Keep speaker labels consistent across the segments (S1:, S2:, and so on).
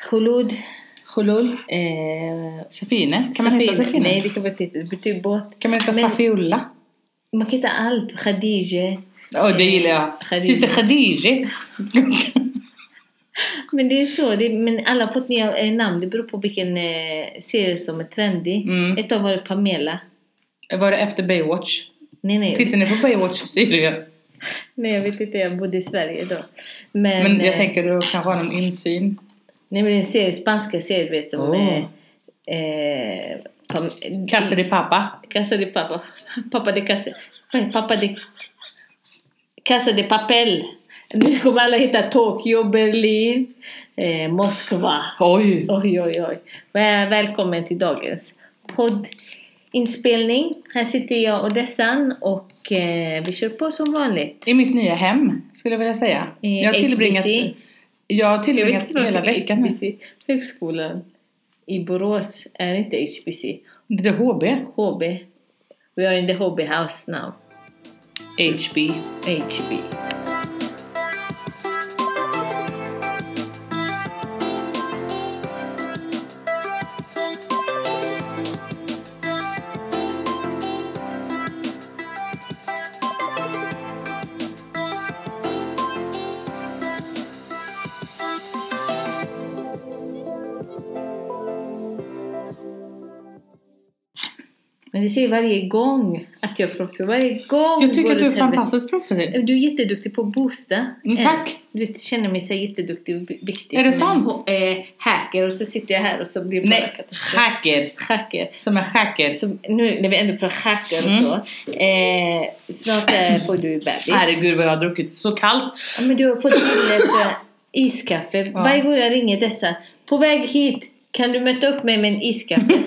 S1: خلود
S2: Khulul.
S1: eh,
S2: Safine. Kan man heta Safine?
S1: Nej, det kan man inte heta. Typ båt.
S2: Kan man heta
S1: Men-
S2: Safiullah?
S1: Man kan heta allt. Khadija.
S2: Åh, det gillar jag.
S1: Khadija.
S2: Syster Khadija.
S1: Men det är så. Det, men alla har fått nya eh, namn. Det beror på vilken eh, serie som är trendig.
S2: Mm.
S1: Ett av var det Pamela.
S2: Var det efter Baywatch?
S1: Nej, nej.
S2: Tittar ni på Baywatch Syrien?
S1: Nej, jag vet inte. Jag bodde i Sverige då. Men,
S2: Men jag
S1: eh,
S2: tänker du kanske har någon insyn.
S1: Nej, men det är en serie, spanska serier, du vet som...
S2: Oh.
S1: Eh, eh, Pam-
S2: Kassa di pappa.
S1: Casa de pappa. Pappa de casa. Nej, Pappa de... Casa de papel. Nu kommer alla hitta Tokyo, Berlin, eh, Moskva.
S2: Oj!
S1: Oj, oj, oj. Väl- Välkommen till dagens poddinspelning. Här sitter jag och Dessan och eh, vi kör på som vanligt.
S2: I mitt nya hem, skulle jag vilja säga.
S1: Eh,
S2: Jag har tillbringat,
S1: HBC.
S2: jag har
S1: Jag
S2: tillbringat
S1: vet inte
S2: hela veckan med...
S1: HBC. Högskolan i Borås är inte HBC.
S2: Det är HB.
S1: HB. We are in the HB house now.
S2: HB.
S1: HB. Men du säger varje gång att jag är proffsig. Varje gång
S2: Jag tycker
S1: går
S2: att du är
S1: till henne.
S2: fantastiskt proffsig.
S1: Du är jätteduktig på att boosta.
S2: Mm, tack.
S1: Eh, Du vet, jag känner mig så här jätteduktig och bi- viktig.
S2: Är det
S1: som en
S2: sant?
S1: ho- eh, hacker och så sitter jag här och så blir det bara
S2: Nej,
S1: katastrof.
S2: hacker.
S1: Hacker.
S2: Som en hacker.
S1: Så nu när vi ändå pratar hacker och
S2: Mm.
S1: så. Eh, snart eh, får du bebis.
S2: Herregud vad jag har druckit så kallt.
S1: Ja, men du har fått till ett eh, iskaffe.
S2: Ja.
S1: Varje gång jag ringer dessa. På väg hit. Kan du möta upp mig med en iskaffe?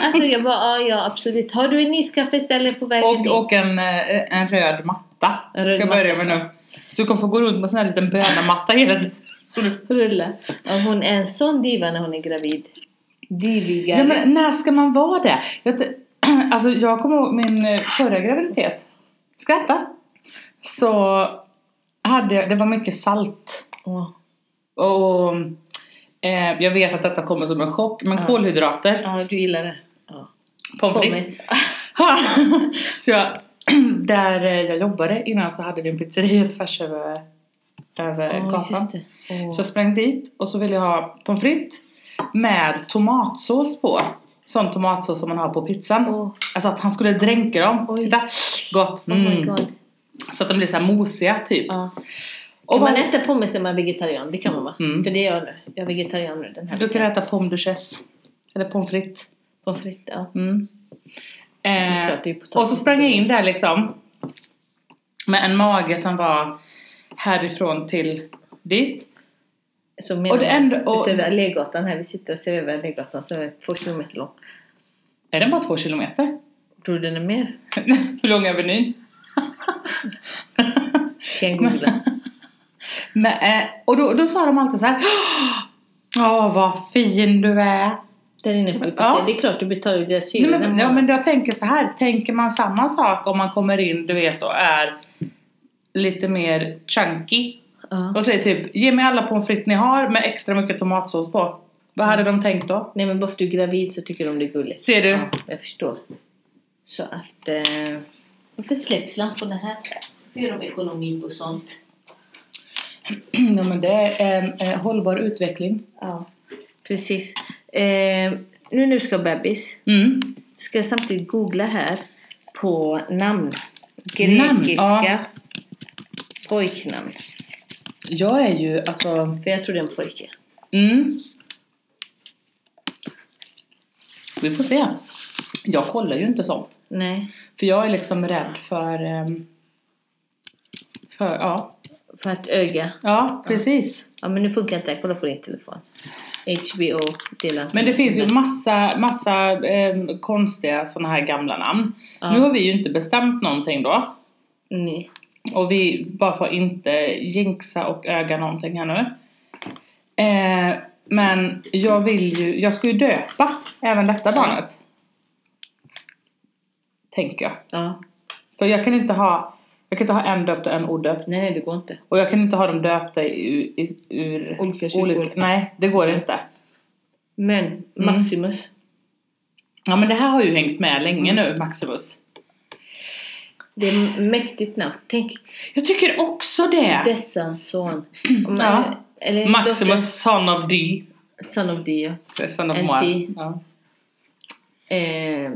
S1: alltså jag bara, ja, ja absolut. Har du en iskaffe istället på vägen hit?
S2: Och, och en, eh, en röd matta.
S1: En röd
S2: Ska jag börja med
S1: matta.
S2: nu. Så du kommer få gå runt med en sån här liten bönamatta hela tiden. Så du-
S1: Rulla. Ja, hon är en sån diva när hon är gravid. Divigare.
S2: Ja, men när ska man vara det? Jag, t- alltså, jag kommer ihåg min eh, förra graviditet. Skratta. Så hade jag, det var mycket salt.
S1: Åh.
S2: Och eh, jag vet att detta kommer som en chock. Men
S1: Ja.
S2: kolhydrater,
S1: Ja, du gillar det. Ja.
S2: pommes frites.
S1: Pommes.
S2: så jag, där eh, jag jobbade innan så hade vi en pizzeria tvärs över, över
S1: Ja,
S2: gatan.
S1: just det. Åh.
S2: Så jag sprang dit och så ville jag ha pommes frites med tomatsås på. Sån tomatsås som man har på pizzan.
S1: Åh.
S2: Alltså att han skulle dränka dem.
S1: Oj.
S2: Titta. Gott.
S1: Oh my
S2: Mm.
S1: god.
S2: så att de blir så här mosiga typ.
S1: Ja.
S2: Och
S1: Kan man
S2: bara,
S1: äta pommes när man är vegetarian? Det kan man va?
S2: Mm.
S1: För det är jag nu. Jag är vegetarian nu den här
S2: du kan äta pommes duchesse. Eller pommes frites.
S1: Pommes frites, ja.
S2: Mm.
S1: är
S2: Eh,
S1: klart, det är ju potatis.
S2: och så sprang jag in där liksom. Med en mage som var härifrån till dit.
S1: Så
S2: Och det enda-
S1: menar
S2: och-
S1: man utöver Allégatan här. Vi sitter och ser över Allégatan som är två kilometer lång.
S2: Är den bara två kilometer?
S1: Tror du den är mer?
S2: Hur lång är menyn?
S1: Kan jag googla.
S2: Men, eh, och då, då sa de alltid så här. Åh vad fin du är.
S1: Där inne på
S2: Ja.
S1: ja. Det är klart du betalar ju deras
S2: Nej,
S1: hyror.
S2: men, ja, men jag tänker så här, tänker man samma sak om man kommer in, du vet, och är lite mer chunky
S1: ja.
S2: och säger typ ge mig alla pommes frites ni har med extra mycket tomatsås på. Vad hade de tänkt då?
S1: Nej men bara för att du är gravid så tycker de det är gulligt.
S2: Ser du?
S1: Ja, jag förstår. Så att... Eh, varför släcks lamporna här? Hur gör de ekonomi och sånt?
S2: Ja, men det är eh, eh, hållbar utveckling.
S1: Ja, precis. Eh, nu nu ska bebis.
S2: Mm.
S1: Ska jag samtidigt googla här på namn.
S2: Namn,
S1: Grekiska
S2: ja.
S1: pojknamn.
S2: Jag är ju alltså...
S1: För jag tror det är en pojke.
S2: Mm. Vi får se. Jag kollar ju inte sånt.
S1: Nej,
S2: För jag är liksom rädd för... ehm, för ja.
S1: för att öga.
S2: ja, precis.
S1: Ja, men nu funkar inte det. Kolla på din telefon. HBO, Dylan.
S2: Men det finns ju massa, massa ehm, konstiga sådana här gamla namn.
S1: Ja.
S2: Nu har vi ju inte bestämt någonting då.
S1: Nej.
S2: Och vi bara får inte jinxa och öga någonting här nu. Eh, men jag vill ju, jag ska ju döpa även detta barnet. Tänker jag.
S1: Ja.
S2: För jag kan inte ha, jag kan inte ha en döpt och en odöpt.
S1: Nej, nej, det går inte.
S2: Och jag kan inte ha dem döpta i, i, ur
S1: Olika kyrkor.
S2: nej, det går inte.
S1: Men
S2: Mm.
S1: Maximus.
S2: Ja men det här har ju hängt med länge
S1: Mm.
S2: nu, Maximus.
S1: Det är mäktigt namn. Tänk
S2: Jag tycker också det!
S1: dessa son. Om man-
S2: Ja.
S1: eller
S2: Maximus, son of D.
S1: dotter- Son of Dio.
S2: Det är son of
S1: En
S2: moi.
S1: T.
S2: Ja.
S1: Eh,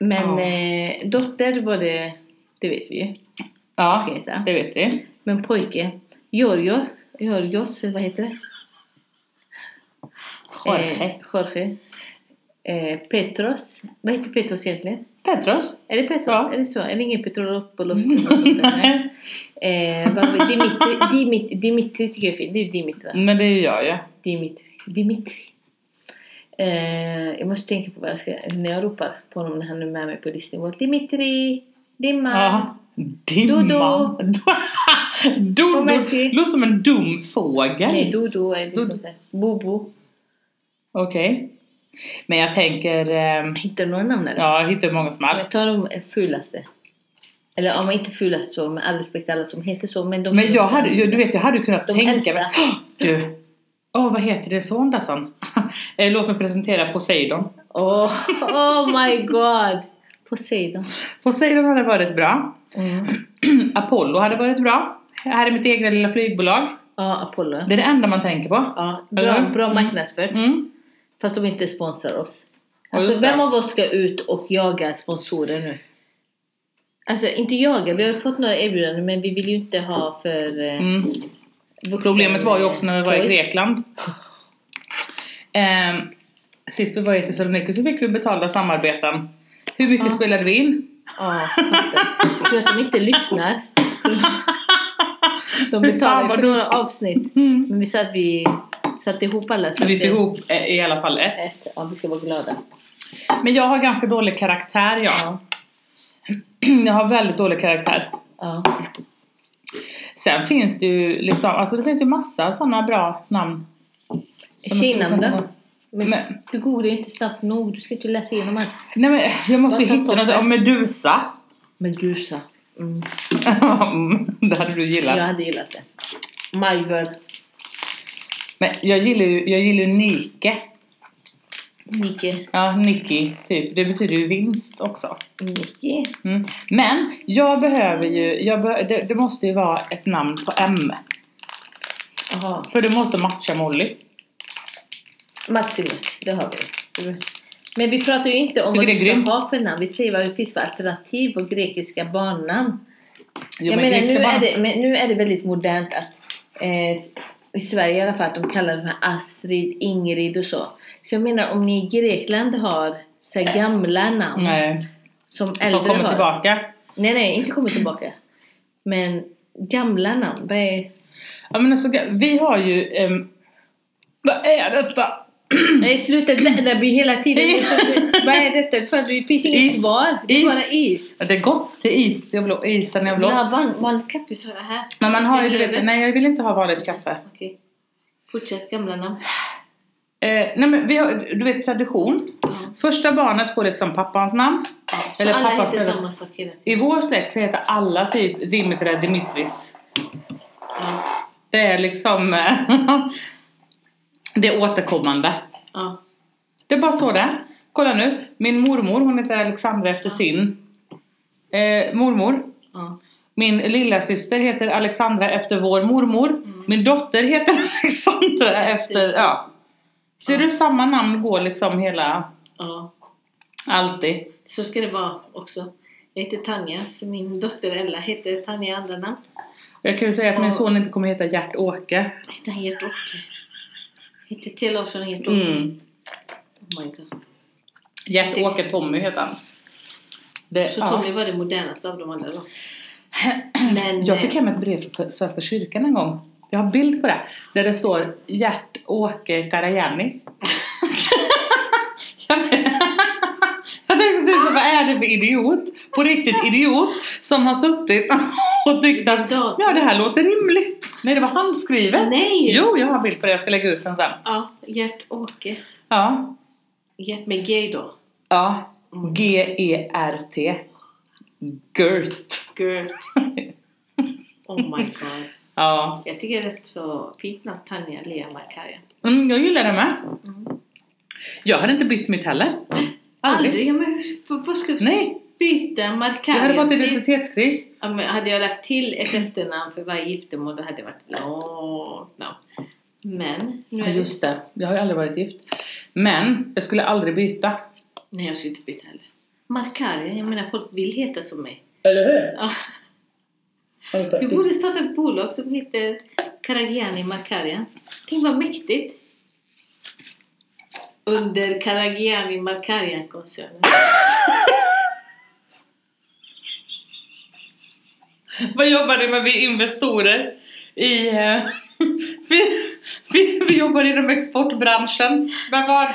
S1: men
S2: Ja.
S1: eh, dotter var det, det vet vi ju. Ska
S2: ja,
S1: heta.
S2: det vet vi.
S1: Men pojke, Georgios, Georgios vad heter det?
S2: Jorge.
S1: Eh, Jorge. Eh, Petros, vad heter Petros egentligen?
S2: Petros.
S1: Är det Petros?
S2: Ja.
S1: Är det så? Är det ingen Petrolopoulos? eller något sånt där? Nej. Eh, vad var det? Dimitri, Dimitri, Dimitri tycker jag är fint. Det är ju Dimitri. va?
S2: Men det är ju jag ju.
S1: Dimitri. Dimitri. Eh, jag måste tänka på vad jag ska, när jag ropar på honom när han är med mig på Disney World. Dimitri! Dimman!
S2: Ja. Dimman. Dodo.
S1: Kom med till.
S2: Låter som en dum fågel.
S1: Nej, Dodo är det
S2: Dodo.
S1: som säger. Bobo.
S2: Okej. Men jag tänker... ehm,
S1: Hittar du några namn eller?
S2: ja, jag hittar hur många som
S1: Jag
S2: helst.
S1: tar de fulaste. Eller ja, men inte fulast så, med all respekt till alla som heter så. Men, de,
S2: Men jag hade, jag- du vet, jag hade kunnat
S1: De
S2: tänka
S1: äldsta.
S2: mig... Åh, Du! Åh, vad heter din son Dassan? Eh, Låt mig presentera Poseidon.
S1: Oh, oh my god! Poseidon.
S2: Poseidon hade varit bra. Mm. Apollo hade varit bra. Här är mitt egna lilla flygbolag.
S1: Ja, Apollo.
S2: Det är det enda man tänker på.
S1: Ja,
S2: Eller?
S1: bra, bra marknadsfört.
S2: Mm.
S1: Fast de inte sponsrar oss.
S2: Ja,
S1: Alltså
S2: just det.
S1: vem av oss ska ut och jaga sponsorer nu? Alltså inte jaga, vi har fått några erbjudanden men vi vill ju inte ha för eh,
S2: Mm.
S1: vuxen- eh,
S2: Problemet var ju också när vi var i
S1: toys.
S2: Grekland. Ehm, sist vi var i Thessaloniki så fick vi betalda samarbeten. Hur mycket spelade vi in?
S1: Ja, fattar. Jag tror att de inte lyssnar. De
S2: Fy fan,
S1: betalar
S2: vad
S1: ju för några avsnitt. Men vi sa att vi satte ihop alla.
S2: Så vi
S1: att
S2: fick
S1: det-
S2: ihop eh, i alla fall ett.
S1: ett. Ja, vi ska vara glada. Eh.
S2: Men jag har ganska dålig karaktär jag. Jag har väldigt dålig karaktär.
S1: Ja.
S2: Sen finns det ju liksom, alltså det finns ju massa sådana bra namn. som jag skulle
S1: Kina
S2: kunna
S1: då?
S2: ha.
S1: Men,
S2: Men-
S1: du googlar ju inte snabbt nog. Du ska inte läsa igenom allt.
S2: Nej men jag måste ju
S1: Vad tar
S2: hitta
S1: folk
S2: något om Medusa.
S1: Medusa. Mm.
S2: Mm, det hade du gillat.
S1: Jag hade gillat det. Majvör.
S2: Men jag gillar ju, jag gillar ju Nike.
S1: Nike.
S2: Ja, Nicky, typ. Det betyder ju vinst också.
S1: Nike.
S2: Mm. Men jag behöver ju, jag be, det, det måste ju vara ett namn på M.
S1: Jaha.
S2: För det måste matcha Molly.
S1: Maximus. Det har vi. Men vi pratar ju inte om vad
S2: Tycker det
S1: vi
S2: är
S1: ska
S2: grymt.
S1: ha för namn. Vi säger vad det finns för alternativ och grekiska barnnamn.
S2: Jo,
S1: jag menar,
S2: Greeks
S1: nu
S2: bara-
S1: är, det, men nu är det väldigt modernt att eh, i Sverige i alla fall att de kallar de här Astrid, Ingrid och så. Så jag menar om ni i Grekland har så här gamla namn
S2: Nej,
S1: som äldre
S2: Mm. som kommer
S1: har.
S2: tillbaka.
S1: Nej, nej, inte kommer tillbaka. Men gamla namn, vad är...
S2: Ja, men alltså, vi har ju... ehm, vad är detta?
S1: Nej, sluta det blir hela tiden... liksom, vad är detta? Fan, det finns inget
S2: Is.
S1: svar. Det är
S2: Is.
S1: bara is.
S2: Ja, Det är gott, det är is, det är blå, isen är blå.
S1: Ja, van, van kappis har jag här.
S2: Men man har ju, du
S1: Ställer
S2: vet,
S1: över.
S2: nej jag vill inte ha vanligt kaffe.
S1: Okej. Fortsätt, gamla namn.
S2: Eh, nej men vi har, du vet tradition. Första barnet får liksom pappans namn.
S1: Eller alla heter
S2: namn.
S1: samma sak hela tiden.
S2: I vår släkt så heter alla typ Dimitra Dimitris.
S1: Ja.
S2: Det är liksom... eh, det är återkommande.
S1: ja.
S2: Det är bara så det är. Kolla nu. Min mormor, hon heter Alexandra efter sin eh, mormor.
S1: Ja.
S2: Min lilla syster heter Alexandra efter vår mormor.
S1: Mm.
S2: Min dotter heter Alexandra efter... Ja. Ser du, samma namn går liksom hela...
S1: ja.
S2: Alltid.
S1: Så ska det vara också. Jag heter Tanja, så min dotter Ella heter Tanja i andra namn.
S2: Jag kan ju säga att min
S1: Ja.
S2: son inte kommer heta Gert-Åke.
S1: Jag heter Gert-Åke. Jag heter T Larsson Gert-Åke.
S2: Mm.
S1: Oh my god.
S2: Gert-Åke Tommy heter han. Det,
S1: Så
S2: ja.
S1: Tommy var det modernaste av dem alla då. Men,
S2: Jag fick
S1: eh,
S2: hem ett brev från Svenska kyrkan en gång. Jag har en bild på det. Där det står Gert-Åke Karajani. jag tänkte så, vad är det för idiot? På riktigt idiot som har suttit och tyckt att
S1: Dator.
S2: ja, det här låter rimligt. Nej, det var handskrivet.
S1: Nej!
S2: Jo, jag har en bild på det. Jag ska lägga ut den sen.
S1: Ja, Gert-Åke.
S2: Ja.
S1: Gert med G då.
S2: Ja.
S1: Mm.
S2: G-E-R-T. Gert.
S1: Gert. Oh my god.
S2: Ja.
S1: Jag tycker det är rätt så fint namn Tanja Lea Makarja.
S2: Mm, jag gillar det med. Jag hade inte bytt mitt heller. Aldrig.
S1: Aldrig. Ja, men hur- vad- vad ska jag
S2: Nej,
S1: byta
S2: det
S1: markering?
S2: hade varit
S1: till-
S2: identitetskris.
S1: Ja, men hade jag lagt till ett efternamn för varje giftermål då hade det varit långt namn. Men, nu
S2: Ja,
S1: är det-
S2: just det. Jag har ju aldrig varit gift. Men jag skulle aldrig byta.
S1: Nej, jag skulle inte byta heller. Markarian, jag menar folk vill heta som mig.
S2: Eller hur?
S1: Ja. Vi borde starta ett bolag som heter Karagiani Markarian. Tänk vad mäktigt! Under Karagiani Markarian-koncernen.
S2: Vad jobbar ni med? Vi är investorer i... eh, vi, vi, vi jobbar inom exportbranschen. Men vad?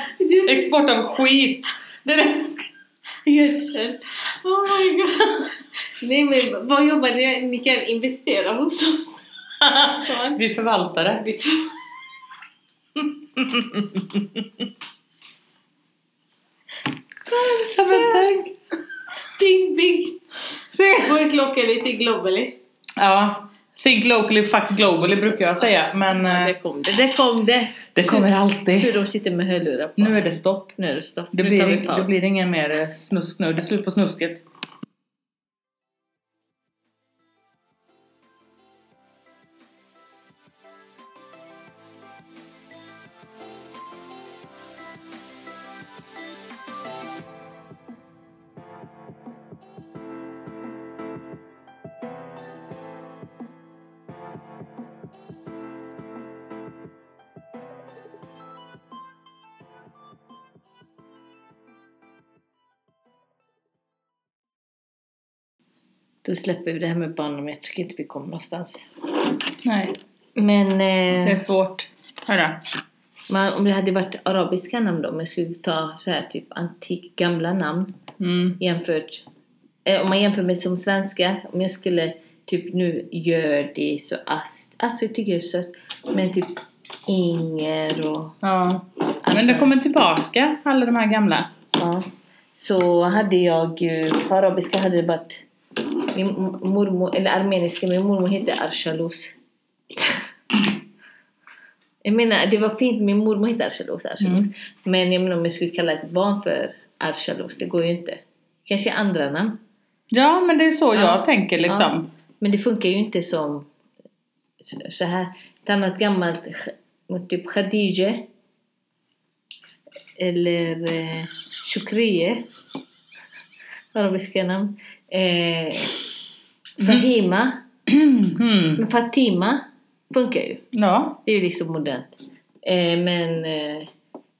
S2: Export av skit. Det är,
S1: Gödsel. Oh my god. Nej men vad jobbar ni? Ni kan investera hos oss.
S2: vi förvaltar det.
S1: Vi-
S2: Ja, men tänk.
S1: Ding ding! Vår klocka är lite globally.
S2: Ja. Think locally, fuck globally brukar jag säga. Men eh,
S1: Där kom det, där kom det!
S2: det kommer alltid.
S1: Hur de sitter med hörlurar på.
S2: Nu är det stopp.
S1: Nu är det stopp.
S2: Det
S1: nu
S2: blir,
S1: tar vi paus.
S2: det blir ingen mer eh, snusk nu. Det är slut på snusket.
S1: Då släpper vi det här med barnen men jag tycker inte vi kommer någonstans.
S2: Nej,
S1: Men
S2: det är
S1: eh,
S2: svårt. Hörru.
S1: man, om det hade varit arabiska namn då, om jag skulle ta så här typ antik gamla namn
S2: Mm.
S1: jämfört eh, om man jämför med som svenska, om jag skulle typ nu gör det så ast, Astrid tycker jag är sött, men typ Inger och
S2: Ja. Men
S1: Alltså-
S2: det kommer tillbaka, alla de här gamla.
S1: Ja. Så hade jag ju, på arabiska hade det varit min m- mormor, eller armeniska, min mormor hette Arshalus. jag menar, det var fint, min mormor hette Arshalus, Arshalus. Men jag menar om jag skulle kalla ett barn för Arshalus, det går ju inte. Kanske andra namn.
S2: Ja, men det är så jag tänker
S1: Ja.
S2: liksom.
S1: Men det funkar ju inte som så- så här. Ett annat gammalt, ch- typ Khadije. Eller eh, Shukriye. Arabiska namn. Eh, Mm-hmm. Fahima.
S2: Mm.
S1: Men Fatima funkar ju.
S2: Ja.
S1: Det är ju liksom modernt. Eh, men... Eh,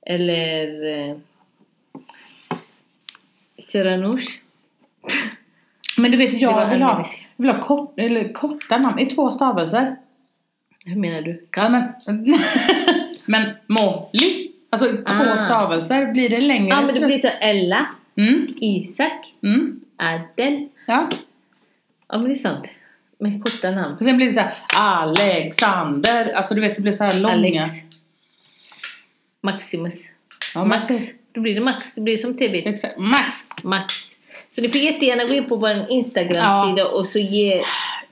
S1: eller... Eh, Seranush.
S2: Men du vet,
S1: Det var
S2: jag vill ha,
S1: armenisk.
S2: jag vill ha kort, eller korta namn i två stavelser.
S1: Hur menar du?
S2: Ja, men, men Molly. Alltså två
S1: Ah.
S2: stavelser. Blir det längre?
S1: Ja, men det
S2: så-
S1: blir så Ella,
S2: Mm.
S1: Isak,
S2: Mm.
S1: Adel.
S2: Ja.
S1: Ja, men det är sant. Men korta namn.
S2: Och sen blir det så här Alexander. Alltså du vet, det blir så här långa.
S1: Alex. Maximus.
S2: Ja,
S1: Max.
S2: Max. Max.
S1: Då blir det Max. Det blir som TV.
S2: Exakt. Max.
S1: Max. Så ni får jättegärna gå in på vår Instagram-sida och så ge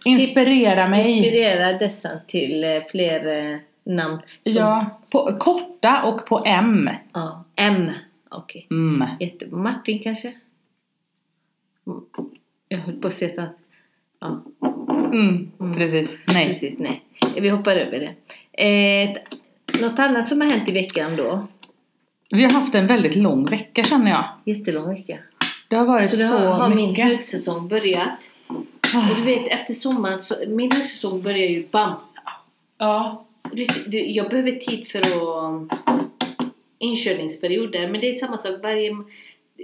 S2: Inspirera mig.
S1: Inspirera dessa till eh, fler eh, namn. Som,
S2: Ja. På, korta och på M.
S1: ja, M. Okej.
S2: Mm.
S1: Jätte- Martin kanske? Mm. Jag höll på att säga att... Ja.
S2: Mm. Precis. Nej.
S1: Precis, nej. Vi hoppar över det. Eh, något annat som har hänt i veckan då?
S2: Vi har haft en väldigt lång vecka känner jag.
S1: Jättelång vecka.
S2: Det har varit
S1: Så
S2: så,
S1: det har, har min
S2: mycket.
S1: högsäsong börjat. Och du vet, efter sommaren, så, min högsäsong börjar ju bam.
S2: Ja.
S1: Och Du, vet, du, jag behöver tid för att um, inkörningsperioder, men det är samma sak varje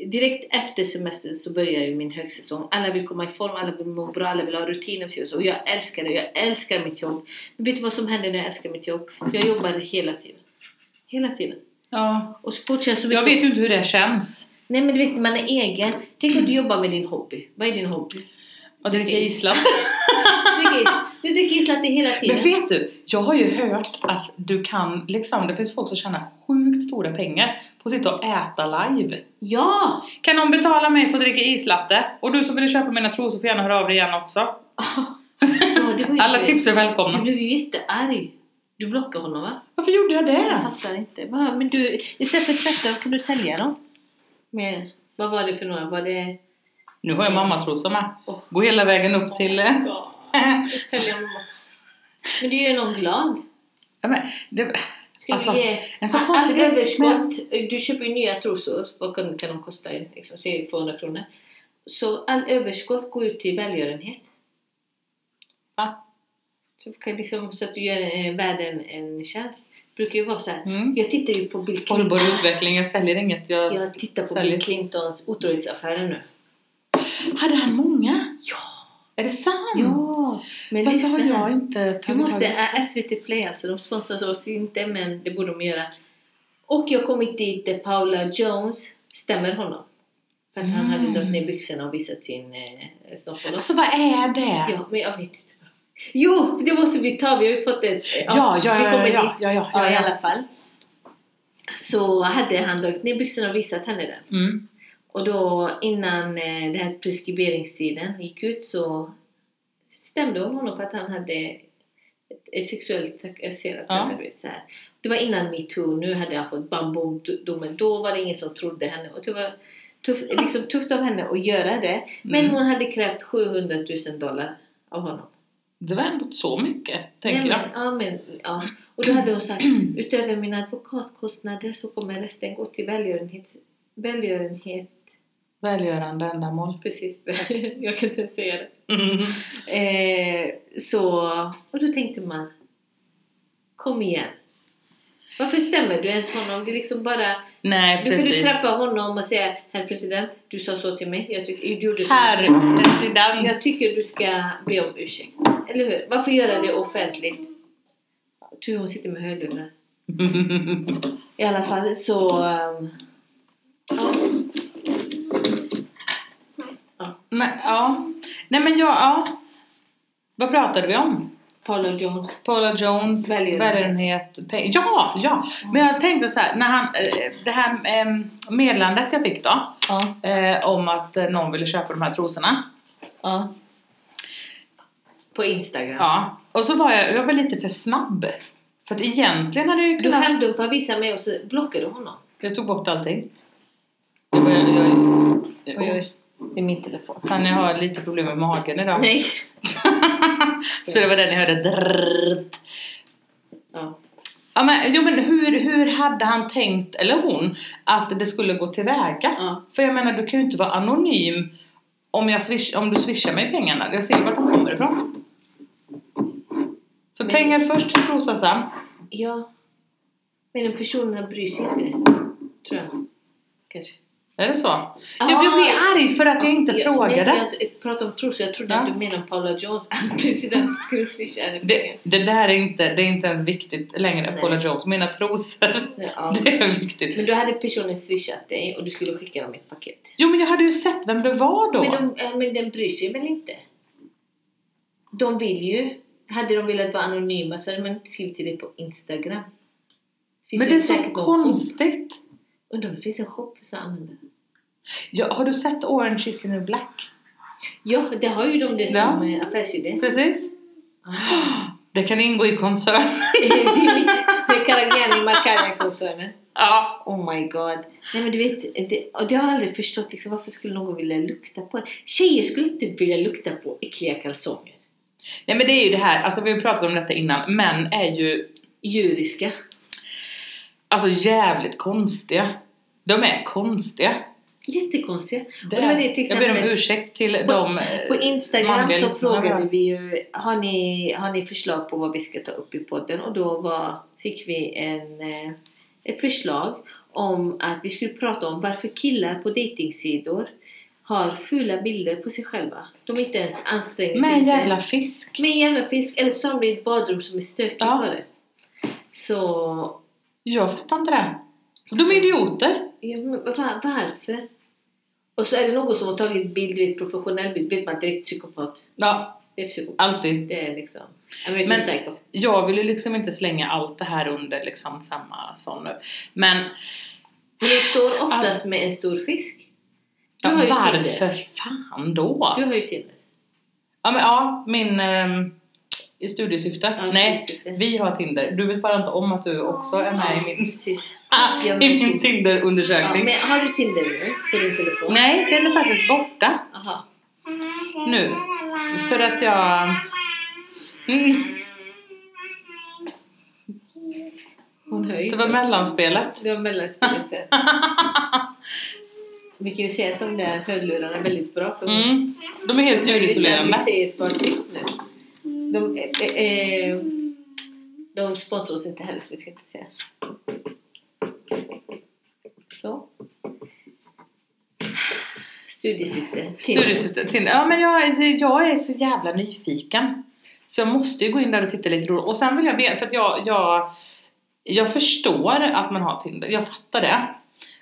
S1: Direkt efter semestern så börjar ju min högsäsong. Alla vill komma i form, alla vill må bra, alla vill ha rutiner och så. och så. Och jag älskar det, jag älskar mitt jobb. Men vet du vad som händer när jag älskar mitt jobb? Jag jobbar hela tiden. Hela tiden.
S2: ja.
S1: Och sport känns så
S2: Jag
S1: mycket.
S2: vet ju inte hur det känns.
S1: Nej men du vet, man är egen. Tänk om du jobbar med din hobby. Vad är din hobby?
S2: Att dricka islat.
S1: dricker, du dricker islatte hela tiden.
S2: Men vet du, jag har ju hört att du kan, liksom, det finns folk som tjänar sjukt stora pengar på att sitta och äta live.
S1: Ja!
S2: Kan någon betala mig för att dricka islatte? Och du som vill köpa mina trosor får gärna höra av dig igen också.
S1: ja det var ju
S2: Alla tips är
S1: Du
S2: välkomna.
S1: blev ju jättearg. Du blockade honom va?
S2: Varför gjorde jag
S1: Jag
S2: det?
S1: fattar inte. Va, Men du, istället för tvätta, kan du sälja dem? Med, vad var det för några? Var det...
S2: Nu har jag mammatrosa med.
S1: Åh.
S2: Gå hela vägen upp till... eh,
S1: Ja, sälja dem. Men du gör någon glad.
S2: Ja, men, det,
S1: Ska
S2: Alltså,
S1: du ge
S2: en så
S1: all-
S2: konstig
S1: all
S2: grej.
S1: överskott? Du köper ju nya trosor. Vad kan, kan de kosta? Liksom, säg 200 kronor. Så all överskott går ut till välgörenhet.
S2: Va?
S1: Så, kan liksom, så att du gör eh, världen en tjänst. Det brukar ju vara så här.
S2: Mm.
S1: Jag tittar ju på Bill Clinton.
S2: Hållbar utveckling, jag säljer inget. Jag,
S1: Jag tittar på
S2: säljer.
S1: Bill Clintons otrohetsaffärer nu.
S2: Hade han många? Ja! Är det sant?
S1: Ja, men
S2: Varför
S1: lyssna
S2: har
S1: här.
S2: jag inte tagit
S1: Du
S2: tag
S1: måste,
S2: i
S1: äh, SVT Play alltså, de sponsrar oss inte men det borde de göra. Och jag har kommit dit där Paula Jones stämmer honom. För att han
S2: Mm.
S1: hade dragit ner byxorna och visat sin eh, snopp och loss.
S2: Alltså vad är det?
S1: Ja, men jag vet inte. Jo, det måste vi ta. Vi har ju fått ett...
S2: Ja, ja,
S1: vi
S2: ja,
S1: kommer
S2: ja,
S1: dit.
S2: ja, ja,
S1: ja,
S2: ja,
S1: i
S2: ja.
S1: alla fall. Så hade han dragit ner byxorna och visat henne den.
S2: Mm.
S1: Och då innan eh, den här preskriberingstiden gick ut så stämde hon honom för att han hade ett- ett sexuellt trakasserat
S2: Ja.
S1: henne. Du vet, så här. Det var innan metoo, nu hade han fått bambumdomen. Då var det ingen som trodde henne. Och det var tuff, liksom tufft av henne att göra det. Men
S2: Mm.
S1: hon hade krävt 700 000 dollar av honom.
S2: Det var ändå inte så mycket, tänker
S1: Nej,
S2: jag.
S1: men, ja, men, ja. Och då hade hon sagt utöver mina advokatkostnader så kommer resten gå till välgörenhet, välgörenhet
S2: Välgörande ändamål.
S1: Precis, jag kan inte säga det.
S2: Mm.
S1: Eh, så, och då tänkte man, kom igen. Varför stämmer du ens honom? Det är liksom bara,
S2: Nej,
S1: du kan du
S2: precis.
S1: träffa honom och säga Herr president, du sa så till mig. Jag, tyck, du gjorde så.
S2: Herr president.
S1: jag tycker du ska be om ursäkt. Eller hur? Varför göra det offentligt? Tur hon sitter med hörlurar. I alla fall så... ehm, ja.
S2: men, ja. Nej men jag, ja. Vad pratade vi om?
S1: Paula Jones.
S2: Paula Jones,
S1: Välgörenhet.
S2: välgörenhet, pengar. Ja, ja! Men jag tänkte så här, när han, eh, det här eh, meddelandet jag fick då
S1: Ja,
S2: eh, om att eh, någon ville köpa de här trosorna.
S1: ja. På Instagram.
S2: Ja, och så var jag, jag var lite för snabb. För att egentligen hade jag ju
S1: Du
S2: kunnat...
S1: skärmdumpar vissa med och så blockar du honom.
S2: Jag tog bort allting. Jag var, jag, jag,
S1: Oj, oj. Det är min telefon.
S2: Fanny har lite problem med magen idag.
S1: Nej.
S2: så det var den jag hörde. drrrrt.
S1: Ja.
S2: Ja, men, jo, men hur, hur hade han tänkt, eller hon, att det skulle gå tillväga?
S1: Ja.
S2: För jag menar, du kan ju inte vara anonym om, jag swish, om du swishar mig pengarna. Jag ser ju vart de kommer ifrån. Så
S1: Men-
S2: pengar först, prosa sen.
S1: ja. Men personerna bryr sig inte. Tror jag. Kanske.
S2: Är det så? Jag, jag blir arg för att jag inte frågade.
S1: Jag, nej, jag pratade om trosor. Jag trodde
S2: Ja.
S1: att du menade Paula Jones. Att president skulle swisha henne
S2: Det,
S1: pengar.
S2: det där är inte, det är inte ens viktigt längre,
S1: Nej.
S2: Paula Jones. Mina trosor,
S1: Ja.
S2: det är viktigt.
S1: Men då hade personen swishat dig och du skulle skicka dem ett paket.
S2: Jo men jag hade ju sett vem det var då.
S1: Men, de, eh, men den bryr sig väl inte? De vill ju. Hade de velat vara anonyma så hade man inte skrivit till dig på Instagram. Finns
S2: Men det är så
S1: säkert någon
S2: konstigt.
S1: Undrar om det finns en shop för så användare?
S2: Ja, har du sett Orange is the new black?
S1: Ja, det har ju de det som
S2: Ja.
S1: eh, affärsidé.
S2: Precis.
S1: Ah.
S2: Det kan ingå i koncern.
S1: det är mitt- det är Karagiani Markarian-koncernen.
S2: Ja.
S1: Oh my god. Nej men du vet, det, och det har jag aldrig förstått liksom, varför skulle någon vilja lukta på det? Tjejer skulle inte vilja lukta på äckliga kalsonger.
S2: Nej men det är ju det här, alltså vi har pratat om detta innan. Män är ju
S1: Djuriska.
S2: alltså jävligt konstiga. De är konstiga.
S1: Jättekonstiga.
S2: Det
S1: och det var
S2: är-
S1: det till
S2: jag ber om
S1: exempel-
S2: ursäkt till
S1: På-
S2: de
S1: På
S2: eh,
S1: Instagram
S2: manliga
S1: så
S2: lyssnarna vi har.
S1: frågade vi ju har ni, har ni förslag på vad vi ska ta upp i podden? Och då var, fick vi en, eh, ett förslag om att vi skulle prata om varför killar på datingsidor har fula bilder på sig själva. De inte ens anstränger sig.
S2: Med en
S1: inte.
S2: jävla fisk.
S1: Med en jävla fisk. Eller så tar de det i ett badrum som är stökigt
S2: Ja.
S1: var det. Så...
S2: Jag fattar inte det. De är idioter.
S1: Ja, men va- varför? Och så är det någon som har tagit bild, du vet, professionell bild, vet man direkt psykopat.
S2: Ja,
S1: Det är psykopat.
S2: alltid.
S1: Det är liksom... American
S2: Men-
S1: Psycho.
S2: Jag vill ju liksom inte slänga allt det här under liksom samma sån nu. Men
S1: Men de står oftast med en stor fisk. Du
S2: ja,
S1: har ju Tinder.
S2: varför fan då?
S1: Du har ju Tinder.
S2: Ja, men, ja min... ehm, I studiesyfte?
S1: Ja,
S2: Nej,
S1: studiesyfte.
S2: vi har Tinder. Du vet bara inte om att du också är med i min,
S1: precis.
S2: ah,
S1: Jag med
S2: i min
S1: Tinder. Ja,
S2: Tinder-undersökning.
S1: men har du Tinder nu på din telefon?
S2: Nej, den är faktiskt borta
S1: Aha.
S2: nu. För att jag... Mm,
S1: Hon hör ju
S2: det
S1: inte
S2: var
S1: oss.
S2: mellanspelet.
S1: Det var mellanspelet. ja. Vi kan ju säga att de där hörlurarna är väldigt bra för hon-
S2: Mm. De är helt ljudisolerande.
S1: Vi säger ett par tyst nu. De, eh, eh, de sponsrar oss inte heller så vi ska inte säga. Så. Studiesyfte.
S2: Studiesyfte. Tinder. Ja, men jag, jag är så jävla nyfiken. Så jag måste ju gå in där och titta lite roligt. Och sen vill jag veta, för att jag, jag, jag förstår att man har Tinder. Jag fattar det.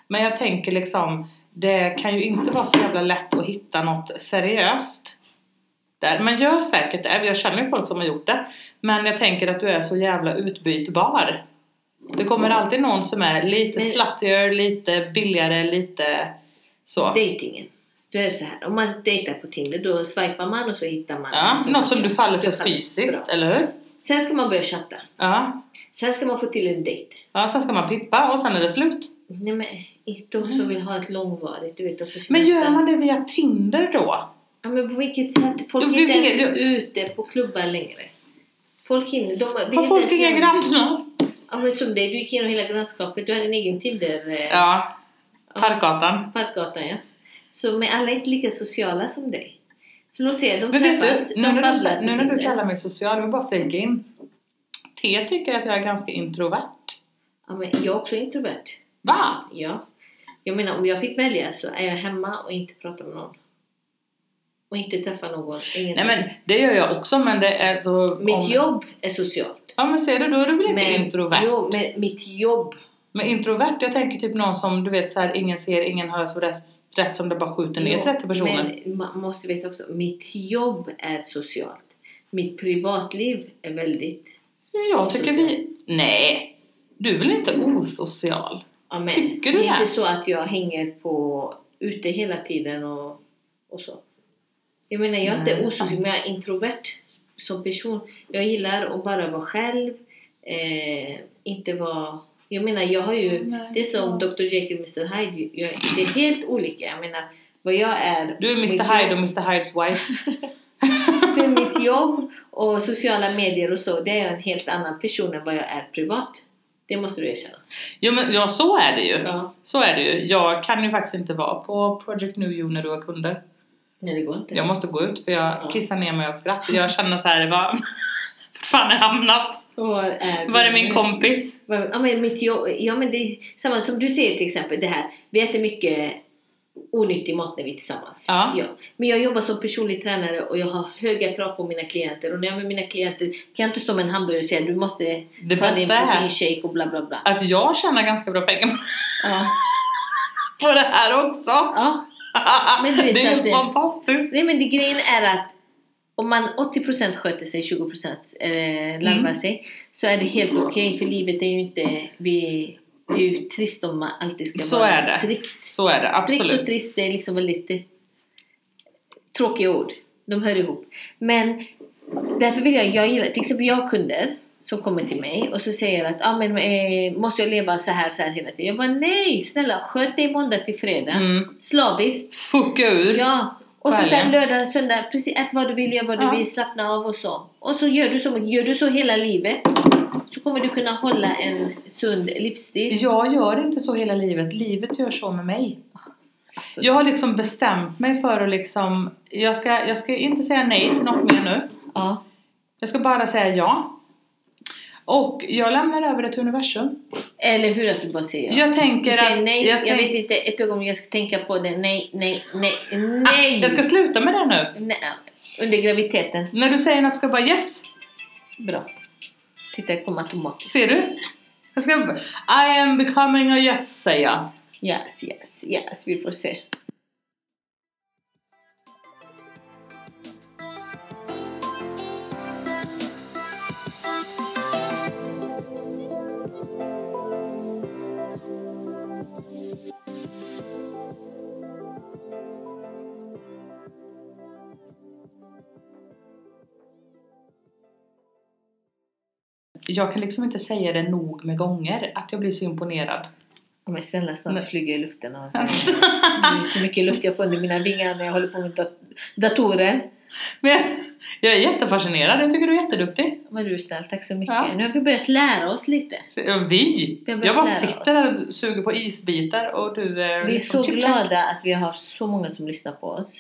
S2: Men jag tänker liksom, det kan ju inte vara så jävla lätt att hitta något seriöst. Där. Man gör säkert det, jag känner ju folk som har gjort det. Men jag tänker att du är så jävla utbytbar. Det kommer alltid någon som är lite
S1: Men-
S2: sluttier, lite billigare, lite så.
S1: Dejtingen. Då är det så här, om man dejtar på Tinder då swipar man och så hittar man.
S2: Ja, något som du faller för
S1: Jag faller-
S2: fysiskt,
S1: Bra.
S2: eller hur?
S1: Sen ska man börja chatta.
S2: Ja.
S1: Sen ska man få till en dejt.
S2: ja, sen ska man pippa och sen är det slut.
S1: Nej men, inte de som vill ha ett långvarigt, du vet. De får
S2: Mm. Men
S1: känna
S2: gör
S1: efter.
S2: man det via Tinder då?
S1: Ja, men på vilket sätt? Folk
S2: Jo,
S1: är
S2: vi
S1: inte ens
S2: vet
S1: ute på klubbar längre. Folk hinner. De, vi
S2: Har
S1: är
S2: folk
S1: inte ens-
S2: inga grannar?
S1: Ja, men som dig, du gick igenom hela grannskapet. Du hade en egen Tinder... Eh,
S2: Ja, Parkgatan.
S1: Parkgatan, ja. Så, men alla är inte lika sociala som dig. Så låt säga, de
S2: Men vet
S1: träffas,
S2: du, nu
S1: de
S2: när
S1: babblar
S2: du,
S1: på
S2: nu när du
S1: Tinder.
S2: kallar mig social, jag vill bara flika in. T tycker att jag är ganska introvert.
S1: Ja, men jag är också introvert.
S2: Va?
S1: Ja. Jag menar, om jag fick välja så är jag hemma och inte pratar med någon. Och inte träffar någon. Ingen.
S2: Nej men det gör jag också men det är så...
S1: Mm. Mitt
S2: om-
S1: jobb är socialt.
S2: Ja men ser du, då är du väl inte introvert?
S1: Jo, men mitt jobb
S2: Men introvert, jag tänker typ någon som du vet så här, ingen ser, ingen hör, så rest, rätt som det bara skjuter ner
S1: Jo,
S2: 30 personer.
S1: Men man måste veta också, mitt jobb är socialt. Mitt privatliv är väldigt...
S2: Jag tycker
S1: Osocial.
S2: vi... Nej! Du är väl inte osocial?
S1: Ja, men
S2: Tycker du
S1: det är
S2: det?
S1: inte så att jag hänger på ute hela tiden och, och så. Jag menar, jag är
S2: Nej,
S1: inte
S2: sant.
S1: osocial, men jag är introvert som person. Jag gillar att bara vara själv. Eh, inte vara... Jag menar, jag har ju...
S2: Nej,
S1: det är som Dr Jekyll och Mr Hyde. Jag, det är helt olika. Jag menar, vad jag är...
S2: Du är Mr
S1: mitt
S2: Hyde och Mr Hydes wife.
S1: För mitt jobb och sociala medier och så, det är jag en helt annan person än vad jag är privat. Det måste du erkänna.
S2: Jo men ja, så är det ju.
S1: Ja.
S2: Så är det ju. Jag kan ju faktiskt inte vara på Project New You när du har kunder.
S1: Nej, det går inte.
S2: Jag måste gå ut för jag
S1: Ja.
S2: kissar ner mig av skratt. Jag känner så här, vad vart fan har jag hamnat?
S1: Var är,
S2: Var är min kompis?
S1: Var- eh, Ja, men mitt jobb, ja, men det är samma som du säger till exempel det här. Vi äter mycket onyttig mat när vi är tillsammans.
S2: Ja.
S1: Men jag jobbar som personlig tränare och jag har höga krav på mina klienter. Och när jag är med mina klienter kan jag inte stå med en hamburgare och säga du måste
S2: Det
S1: ta din
S2: bästa är-
S1: proteinshake och bla bla bla.
S2: Att jag tjänar ganska bra pengar
S1: Ja.
S2: på det här också.
S1: ja. Men du vet
S2: det är
S1: att
S2: helt
S1: det-
S2: fantastiskt.
S1: Nej men det grejen är att om man 80% sköter sig, 20% eh, larvar
S2: Mm.
S1: sig så är det helt okej för livet är ju inte... Vi, det är ju trist om man alltid ska
S2: Så
S1: vara
S2: är det.
S1: strikt.
S2: Så är det,
S1: Strikt och
S2: absolut.
S1: trist är liksom väldigt eh, tråkiga ord. De hör ihop. Men därför vill jag, jag gillar, till exempel jag har kunder som kommer till mig och så säger att ah, men, eh, måste jag leva så här, så här hela tiden? Jag bara nej, snälla sköt dig måndag till fredag.
S2: Mm.
S1: Slaviskt.
S2: Fucka ur.
S1: Ja, och så
S2: Själv.
S1: sen lördag, söndag, precis, ät vad du vill, gör vad du
S2: Ja.
S1: vill, slappna av och så. Och så gör du så, gör du så hela livet så kommer du kunna hålla en sund livsstil.
S2: Jag gör inte så hela livet. Livet gör så med mig.
S1: Alltså,
S2: Jag har liksom bestämt mig för att liksom... Jag ska, jag ska inte säga nej till något mer nu.
S1: ja.
S2: Jag ska bara säga ja. Och jag lämnar över det till universum.
S1: Eller hur att du bara säger ja.
S2: Jag tänker
S1: Du säger
S2: att...
S1: nej, jag,
S2: tänk-
S1: vet inte ett ögonblick, jag ska tänka på det. Nej, nej, nej,
S2: Ah,
S1: nej!
S2: jag ska sluta med det nu.
S1: nej. Under graviditeten.
S2: När du säger något ska jag bara yes.
S1: Bra. Titta, det kommer tomater.
S2: Ser du? Jag ska... I am becoming a yes, säger jag.
S1: Yes, yes, yes, vi får se.
S2: jag kan liksom inte säga det nog med gånger att jag blir så imponerad.
S1: Men snälla
S2: Nej.
S1: snart flyger jag i luften. Och, det är så mycket luft jag får under mina vingar när jag håller på med dat- datorer.
S2: Men jag är jättefascinerad, jag tycker du är jätteduktig.
S1: Men du är snäll, tack så mycket.
S2: Ja.
S1: Nu har vi börjat lära oss lite.
S2: Så, ja, vi!
S1: Vi har börjat
S2: Jag bara
S1: lära oss.
S2: sitter där och suger på isbitar och du... eh,
S1: Vi är
S2: liksom
S1: så
S2: chit chat.
S1: glada att vi har så många som lyssnar på oss.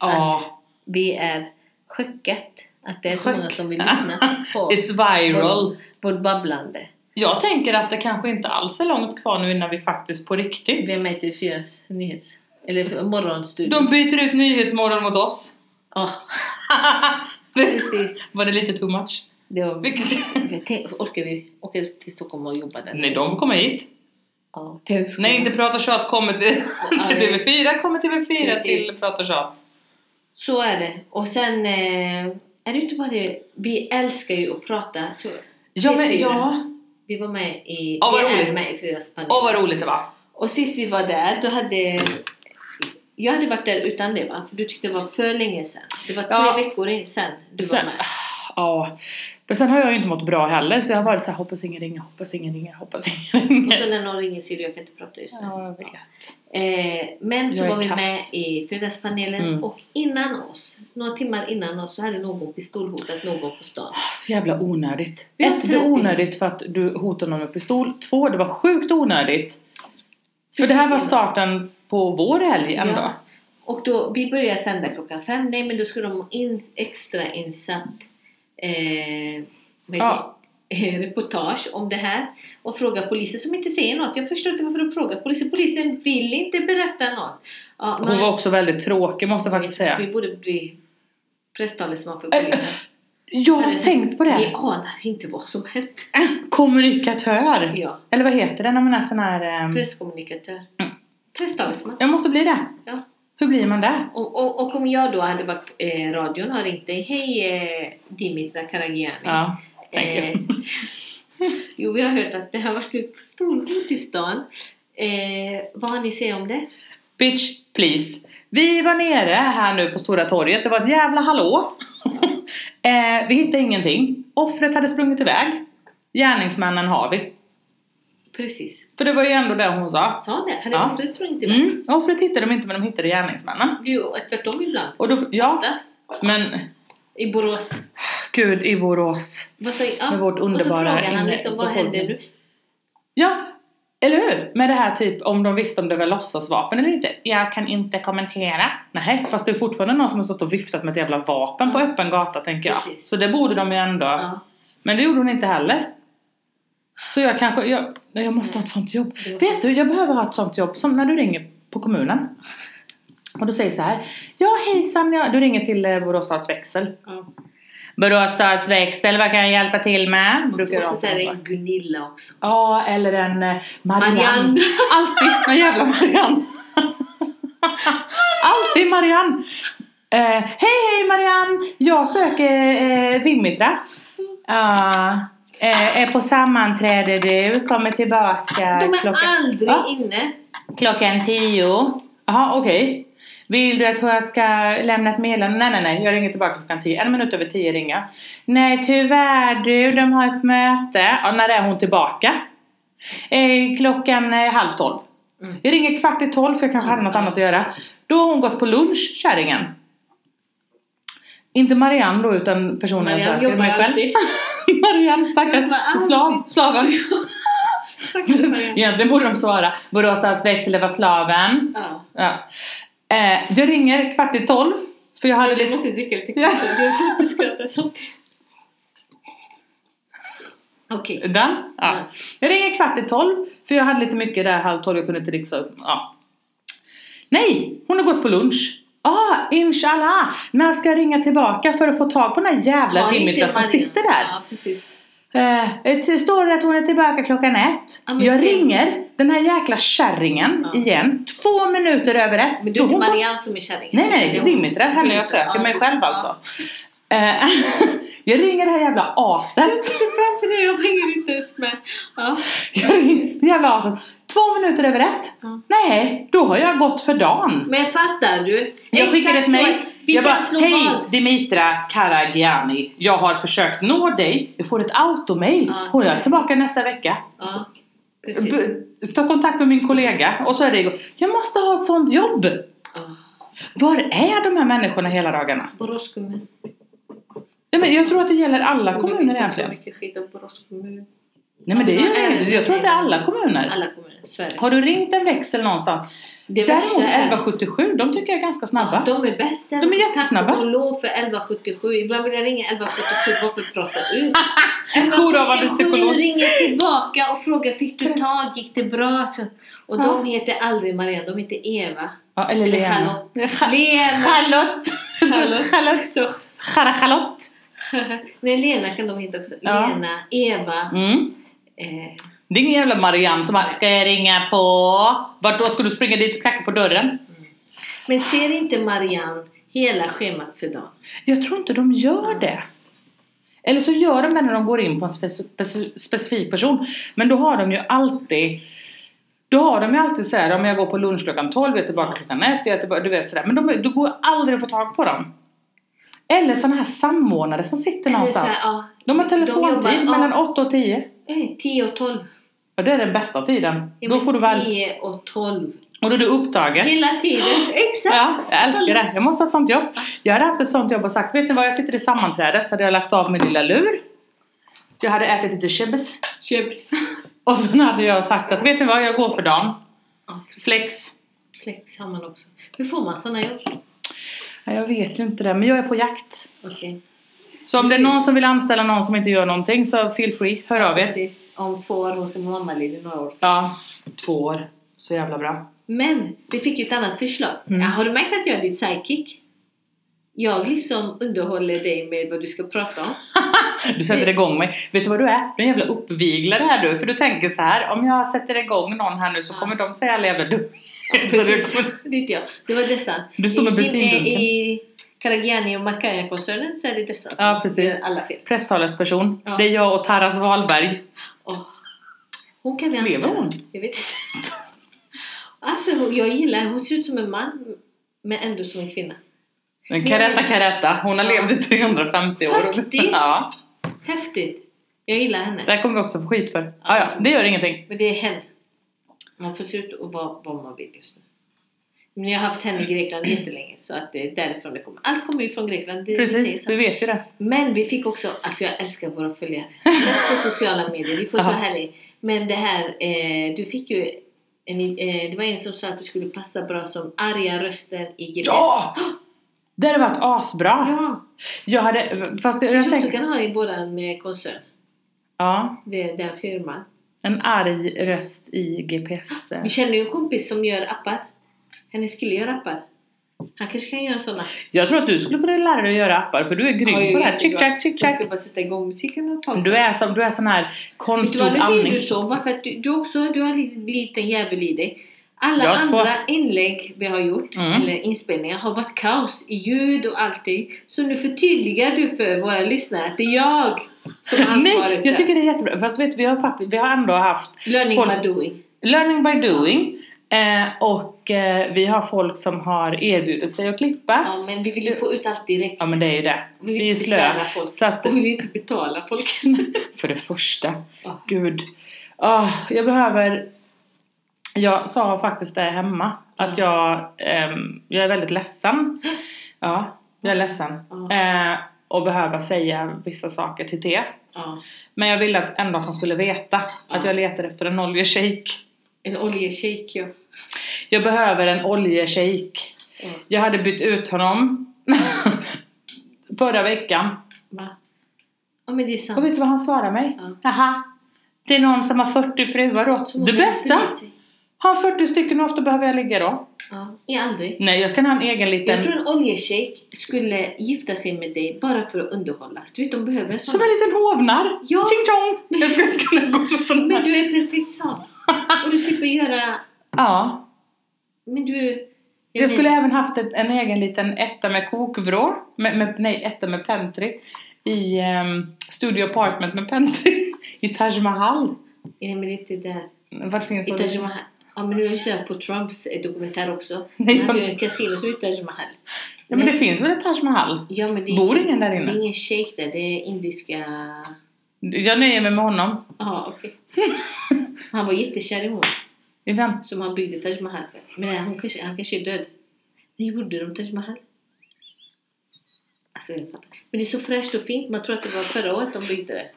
S2: Ja,
S1: Vi är chocket att det är så
S2: Chock.
S1: många som vill lyssna på
S2: it's viral.
S1: vårt- vårt babblande.
S2: Jag tänker att det kanske inte alls är långt kvar nu innan vi faktiskt på riktigt...
S1: Vem är till fyras nyhets... Eller morgonstudio?
S2: De byter ut Nyhetsmorgon mot oss.
S1: Ja,
S2: Det-
S1: precis.
S2: Var det lite too much?
S1: Det var...
S2: Vilket...
S1: Men tänk, Orkar vi åka upp till Stockholm och jobba där?
S2: Nej, de får komma hit.
S1: Ja, till högskolan.
S2: Nej, inte Prata Tjat kommer till, till TV4, kommer TV4 till
S1: Precis.
S2: Prata Tjat.
S1: Så är det. Och sen eh, är det inte bara det, vi älskar ju att prata. Så
S2: Ja, men
S1: TV4.
S2: ja.
S1: Vi var med i,
S2: Åh, vad
S1: vi är
S2: roligt.
S1: med i fredagspanelen.
S2: Åh, vad roligt det var.
S1: Och sist vi var där, då hade jag hade varit där utan det va? För du tyckte det var för länge sedan. Det var tre
S2: Ja.
S1: veckor in sen du var
S2: Sen,
S1: med.
S2: ja. Men sen har jag ju inte mått bra heller så jag har varit så här, hoppas ingen ringer, hoppas ingen ringer, hoppas ingen
S1: Och
S2: ringer.
S1: så när någon ringer säger du jag kan inte prata just nu.
S2: Ja, jag vet.
S1: Eh, men så
S2: Jag är
S1: var vi
S2: kass.
S1: med i fredagspanelen
S2: Mm.
S1: och innan oss, några timmar innan oss, så hade någon pistolhotat någon på stan.
S2: Ah, Så jävla onödigt.
S1: Vi har
S2: Ett, det var
S1: 30.
S2: onödigt för att du hotade någon med pistol. Två, det var sjukt onödigt. För det här var
S1: Precis innan.
S2: starten på vår helg
S1: Ja.
S2: ändå.
S1: Och då, vi började sända klockan fem. Nej, men då skulle de ha in, extra insatt eh, vad heter det?
S2: Ja.
S1: reportage om det här och fråga polisen som inte säger något. Jag förstår inte varför de frågar polisen. Polisen vill inte berätta något. Ja,
S2: Hon
S1: men-
S2: var också väldigt tråkig måste jag faktiskt säga.
S1: Vi borde bli presstalesman för
S2: Äh,
S1: polisen.
S2: Jag har
S1: Hade-
S2: tänkt på
S1: Vi
S2: det.
S1: anar inte vad som hänt.
S2: Kommunikatör.
S1: Ja,
S2: Eller vad heter det när man är sån här... ehm,
S1: presskommunikatör.
S2: Mm.
S1: Presstalesman.
S2: Jag måste bli det.
S1: Ja.
S2: Hur blir man det?
S1: Och, och, och om jag då hade varit eh, radion har ringt dig. Hej eh, Dimitra Karagiani.
S2: Ja, tänker jag.
S1: Eh, jo, vi har hört att det har varit ett storhot i stan. Eh, vad har ni att säga om det?
S2: Bitch, please. Vi var nere här nu på Stora torget. Det var ett jävla hallå. eh, vi hittade ingenting. Offret hade sprungit iväg. Gärningsmannen har vi.
S1: Precis.
S2: För det var ju ändå det hon sa.
S1: Sa det? Hade
S2: Ja.
S1: ja. offret sprungit iväg?
S2: Mm. Offret hittade de inte men de hittade gärningsmannen.
S1: Det är ju tvärtom ibland.
S2: Och då, ja,
S1: Oftast.
S2: men
S1: I Borås.
S2: gud i Borås.
S1: Vad säger, ja.
S2: Med vårt underbara
S1: Och så frågar han
S2: inne-
S1: liksom, vad händer
S2: befolkning.
S1: nu?
S2: Ja, eller hur? Med det här typ om de visste om det var låtsasvapen eller inte. Jag kan inte kommentera. Nej, fast det är fortfarande någon som har stått och viftat med ett jävla vapen på öppen gata tänker jag.
S1: Precis.
S2: Så det borde de ju ändå.
S1: Ja.
S2: Men det gjorde hon inte heller. Så jag kanske, jag, nej, jag måste ha ett sånt jobb.
S1: Det var-
S2: Vet du, jag behöver ha ett sånt jobb som när du ringer på kommunen. Och du säger så här. Ja hejsan, jag, du ringer till eh, Borås stads växel.
S1: Ja.
S2: Borås stads växel, vad kan jag hjälpa till med? Brukar jag
S1: Oftast
S2: alltid
S1: är det
S2: svara.
S1: en Gunilla också.
S2: Ja, eller en eh, Marianne.
S1: Marianne.
S2: Alltid en jävla Marianne. Alltid Marianne. Eh, hej, hej Marianne. Jag söker eh, Dimitra. Ja, eh, är på sammanträde du. Kommer tillbaka
S1: De är
S2: klockan...
S1: aldrig
S2: Ja,
S1: inne.
S2: klockan tio. Jaha, okej. Vill du att jag ska lämna ett meddelande? Nej, nej, nej. Jag ringer tillbaka klockan tio. En minut över tio ringer jag. Nej, tyvärr du. De har ett möte. Ja, när är hon tillbaka? Eh, klockan eh, halv tolv.
S1: Mm.
S2: Jag ringer kvart i tolv för jag kanske hade något annat att göra. Då har hon gått på lunch, kärringen. Inte Marianne då, utan personen
S1: Marianne
S2: jag söker.
S1: jobbar
S2: mig själv.
S1: alltid.
S2: Marianne,
S1: Jobbar
S2: stackars
S1: alltid.
S2: slav, slaven.
S1: Stackars Marianne.
S2: Egentligen borde de svara Borås stadsväxel, det var slaven.
S1: Ja.
S2: Ja. Eh, jag ringer kvart i tolv. För jag hade
S1: Du
S2: lite...
S1: måste dricka lite
S2: Ja.
S1: kaffe. Jag får inte skratta samtidigt. Okej.
S2: Den? Ja.
S1: Ja.
S2: Jag ringer kvart i tolv. För jag hade lite mycket där halv tolv. Jag kunde inte riksa upp. Ja. Nej! Hon har gått på lunch. Ah, inshallah! När ska jag ringa tillbaka för att få tag på den här jävla
S1: Har ni inte
S2: Dimitra som
S1: Marianne?
S2: sitter där?
S1: Ja, precis.
S2: Eh, det står det att hon är tillbaka klockan ett.
S1: Ja, men
S2: jag
S1: se.
S2: ringer den här jäkla kärringen
S1: Ja.
S2: igen. Två minuter över ett.
S1: Men du är
S2: Då
S1: inte
S2: hon gått-
S1: Marianne som är kärringen?
S2: Nej, nej,
S1: Det är hon.
S2: Dimitra. Henne jag söker
S1: Ja,
S2: mig
S1: det-
S2: själv
S1: ja.
S2: alltså. Eh, jag ringer det här jävla aset.
S1: Varför det? Jag hänger inte ens med. Ja.
S2: Jag ringer det jävla aset. Två minuter över ett.
S1: Ja.
S2: Nej, då har jag gått för dagen.
S1: Men fattar du?
S2: Jag skickade ett
S1: så-
S2: mejl.
S1: Vi
S2: jag
S1: kan
S2: bara,
S1: slå
S2: hej
S1: vad."
S2: Dimitra Karagiani. Jag har försökt nå dig. Jag får ett automail.
S1: Ja,
S2: Hon är
S1: tack.
S2: tillbaka nästa vecka.
S1: Ja, precis.
S2: B- Ta kontakt med min kollega. Och så är det igång. Jag måste ha ett sånt jobb.
S1: Ja.
S2: Var är de här människorna hela dagarna?
S1: Borås kommun.
S2: Ja, men jag tror att det gäller alla
S1: Vi
S2: kommuner
S1: får så
S2: egentligen.
S1: mycket skit av Borås kommun.
S2: alltså- Nej men det är ju, jag tror att det är alla kommuner.
S1: Alla kommuner, så är det.
S2: Har du ringt en växel någonstans?
S1: det
S2: Däremot
S1: värsta är-
S2: 1177, de tycker jag är ganska snabba.
S1: De är bäst.
S2: De är jättesnabba.
S1: Tack och lov för 1177. Ibland vill jag ringa 1177 bara för att prata ut.
S2: Jourhavande psykolog.
S1: ringer tillbaka och frågar fick du tag, gick det bra? Så- Och de heter aldrig Maria, de heter Eva.
S2: Ja, eller
S1: Eller
S2: Lena.
S1: Charlotte.
S2: Ja,
S1: Lena!
S2: Charlotte!
S1: Charlotte.
S2: Charlotte!
S1: Så-
S2: Chara Charlotte!
S1: Nej, Lena kan de heta också.
S2: Ja.
S1: Lena, Eva.
S2: Mm.
S1: Eh,
S2: Det är ingen jävla Marianne som bara, ska jag ringa på? Vart då? Ska du springa dit och knacka på dörren?
S1: men ser inte Marianne hela schemat för dagen?
S2: Jag tror inte de gör det. Eller så gör de det när de går in på en speci- speci- specifik person. Men då har de ju alltid då har de ju alltid såhär, om jag går på lunch klockan 12, jag är tillbaka klockan 1, jag är tillbaka, du vet sådär. Men de, du går aldrig att få tag på dem. Eller sådana här samordnare som sitter
S1: Eller så
S2: någonstans.
S1: här, ja.
S2: de har telefontid
S1: de jobbar- ja.
S2: mellan 8 och 10.
S1: Eh, 10 och 12.
S2: Och det är den bästa tiden.
S1: Ja,
S2: då
S1: men
S2: får du väl,
S1: 10 och 12.
S2: och då är du upptagen.
S1: Hela tiden. Exakt.
S2: Ja, jag älskar det. Jag måste ha ett sånt jobb. Jag hade haft ett sånt jobb och sagt, vet ni vad, jag sitter i sammanträde så hade jag lagt av min lilla lur. Jag hade ätit lite chips.
S1: Chips.
S2: Och sen hade jag sagt att, vet ni vad, jag går för dagen.
S1: Ja, precis.
S2: Flex.
S1: Flex har man också. Hur får man såna jobb?
S2: Ja, jag vet ju inte det, men jag är på jakt.
S1: Okej.
S2: Så om det är någon som vill anställa någon som inte gör någonting så feel free, hör av er.
S1: Precis. Om två år hos en mammaledig några år.
S2: Ja, två år. Så jävla bra.
S1: Men vi fick ju ett annat förslag.
S2: Mm.
S1: Ja, har du märkt att jag är ditt sidekick? Jag liksom underhåller dig med vad du ska prata om.
S2: Du sätter igång mig. Vet du vad du är? Du är en jävla uppviglare här du. För du tänker så här, om jag sätter igång någon här nu så
S1: Ja.
S2: kommer de säga alla jävla dumheter.
S1: Precis. Det är inte jag. Det var dessa.
S2: Du står med
S1: I-
S2: bensindunken.
S1: I, i Karagiani och Macaya-koncernen så är det dessa som
S2: Ja, precis.
S1: gör alla fel.
S2: Presstalesperson.
S1: Ja.
S2: Det är jag och Taras Wahlberg.
S1: Åh. Hon kan vi
S2: Lever
S1: anställa.
S2: hon?
S1: Jag vet inte. Alltså, hon- jag gillar henne. Hon ser ut som en man, men ändå som en kvinna.
S2: Men Karetta Karetta, hon har
S1: Ja.
S2: levt i 350 år.
S1: Faktiskt.
S2: Ja,
S1: Häftigt! Jag gillar henne.
S2: det här kommer vi också få skit för. Ja, ja, det gör ingenting.
S1: Men det är henne. Man får se ut och vara vad man vill just nu. Men jag har haft henne i Grekland jättelänge så att det är därifrån det kommer. Allt kommer ju från Grekland. Det säger
S2: Precis,
S1: så.
S2: vi vet ju det.
S1: Men vi fick också, alltså jag älskar våra följare. Mest på sociala medier, vi får så
S2: Aha.
S1: härlig. Men det här, eh, du fick ju en, eh, det var en som sa att du skulle passa bra som arga rösten i GPS.
S2: Ja! Det hade varit asbra.
S1: ja.
S2: Jag hade, fast jag, jag
S1: Kanske också
S2: tänkte...
S1: kan ha i våran eh, koncern,
S2: Ja,
S1: det, den firman.
S2: en arg röst i GPS.
S1: Ah, Vi känner ju en kompis som gör appar. Hennes kille gör appar. Han kanske kan göra sådana.
S2: Jag tror att du skulle kunna lära dig att göra appar för du är
S1: Ja, jag
S2: grym på det här.
S1: vet
S2: Chick,
S1: inte vad-
S2: chack, chick,
S1: Jag
S2: chack.
S1: ska bara sätta igång musiken och pausa.
S2: Du är, som, du är sån här
S1: Alltså- Vet du vad,
S2: konstgjord
S1: nu säger
S2: andning.
S1: du så bara för att du, du också du har en liten, liten jävel i dig. Alla
S2: Jag har två.
S1: andra inlägg vi har gjort,
S2: Mm.
S1: eller inspelningar, har varit kaos i ljud och allting. Så nu förtydligar du för våra lyssnare att det är jag som har
S2: Nej,
S1: ansvaret.
S2: jag tycker det är jättebra. Fast vet du, vi har, faktiskt, vi har ändå haft
S1: Learning
S2: folk-
S1: by doing.
S2: Learning by doing. Eh, och eh, vi har folk som har erbjudit sig att klippa. Ja,
S1: Ja, men vi vill ju få ut allt direkt.
S2: men det är ju det.
S1: Vi vill
S2: Vi är
S1: inte besvära
S2: slöa.
S1: folk.
S2: Så att,
S1: Och vill inte betala folk.
S2: för det första,
S1: Ja.
S2: gud. Ah, jag behöver... Jag sa faktiskt det hemma. Att jag, ehm, jag är väldigt ledsen. Ja, jag är ledsen.
S1: Ja.
S2: Eh, och behöva säga vissa saker till det.
S1: Ja.
S2: Men jag ville att, ändå att han skulle veta att
S1: Ja.
S2: jag letar efter en oljeshake.
S1: En oljeshake, ja.
S2: Jag behöver en oljeshake.
S1: Ja.
S2: Jag hade bytt ut honom förra veckan.
S1: Va? Ja, men det är sant.
S2: Och vet du vad han svarade mig?
S1: Ja.
S2: Aha. Det är någon som har 40 fruar åt.
S1: Så många
S2: Det bästa!
S1: bryr sig.
S2: Har han 40 stycken, hur ofta behöver jag ligga då?
S1: Ja, är aldrig.
S2: Nej, jag kan ha en egen
S1: Jag
S2: liten...
S1: tror en oljeshejk skulle gifta sig med dig bara för att underhållas. Du vet, de behöver en sån.
S2: Som en liten hovnar!
S1: Ja.
S2: Ching chong! Jag skulle kunna gå på sån
S1: Men
S2: här.
S1: du är perfekt sån. Och du slipper göra...
S2: Ja.
S1: Men du...
S2: Jag skulle även haft ett, en egen liten etta med kokvrå. Med, med, nej, etta med pentry. I ehm, Studio Apartment med pentry. I Taj Mahal.
S1: Nej, men inte där.
S2: Vart finns
S1: I
S2: det?
S1: Taj Mahal. Ja, men nu har jag kört på Trumps eh, dokumentär också.
S2: Nej,
S1: Han
S2: jag-
S1: hade ju en kasino som i Taj Mahal.
S2: Ja, men det finns väl ett Taj Mahal?
S1: Ja, men det är,
S2: Bor ingen där
S1: det
S2: inne?
S1: är ingen shejk där, det är indiska...
S2: Jag nöjer mig med honom.
S1: Ja, okej. Han var jättekär i hon
S2: I vem?
S1: som han byggde Taj Mahal för. Men han kanske, han kanske är död. När gjorde de Taj Mahal? Alltså, jag fattar. Men det är så fräscht och fint. Man tror att det var förra året de byggde det.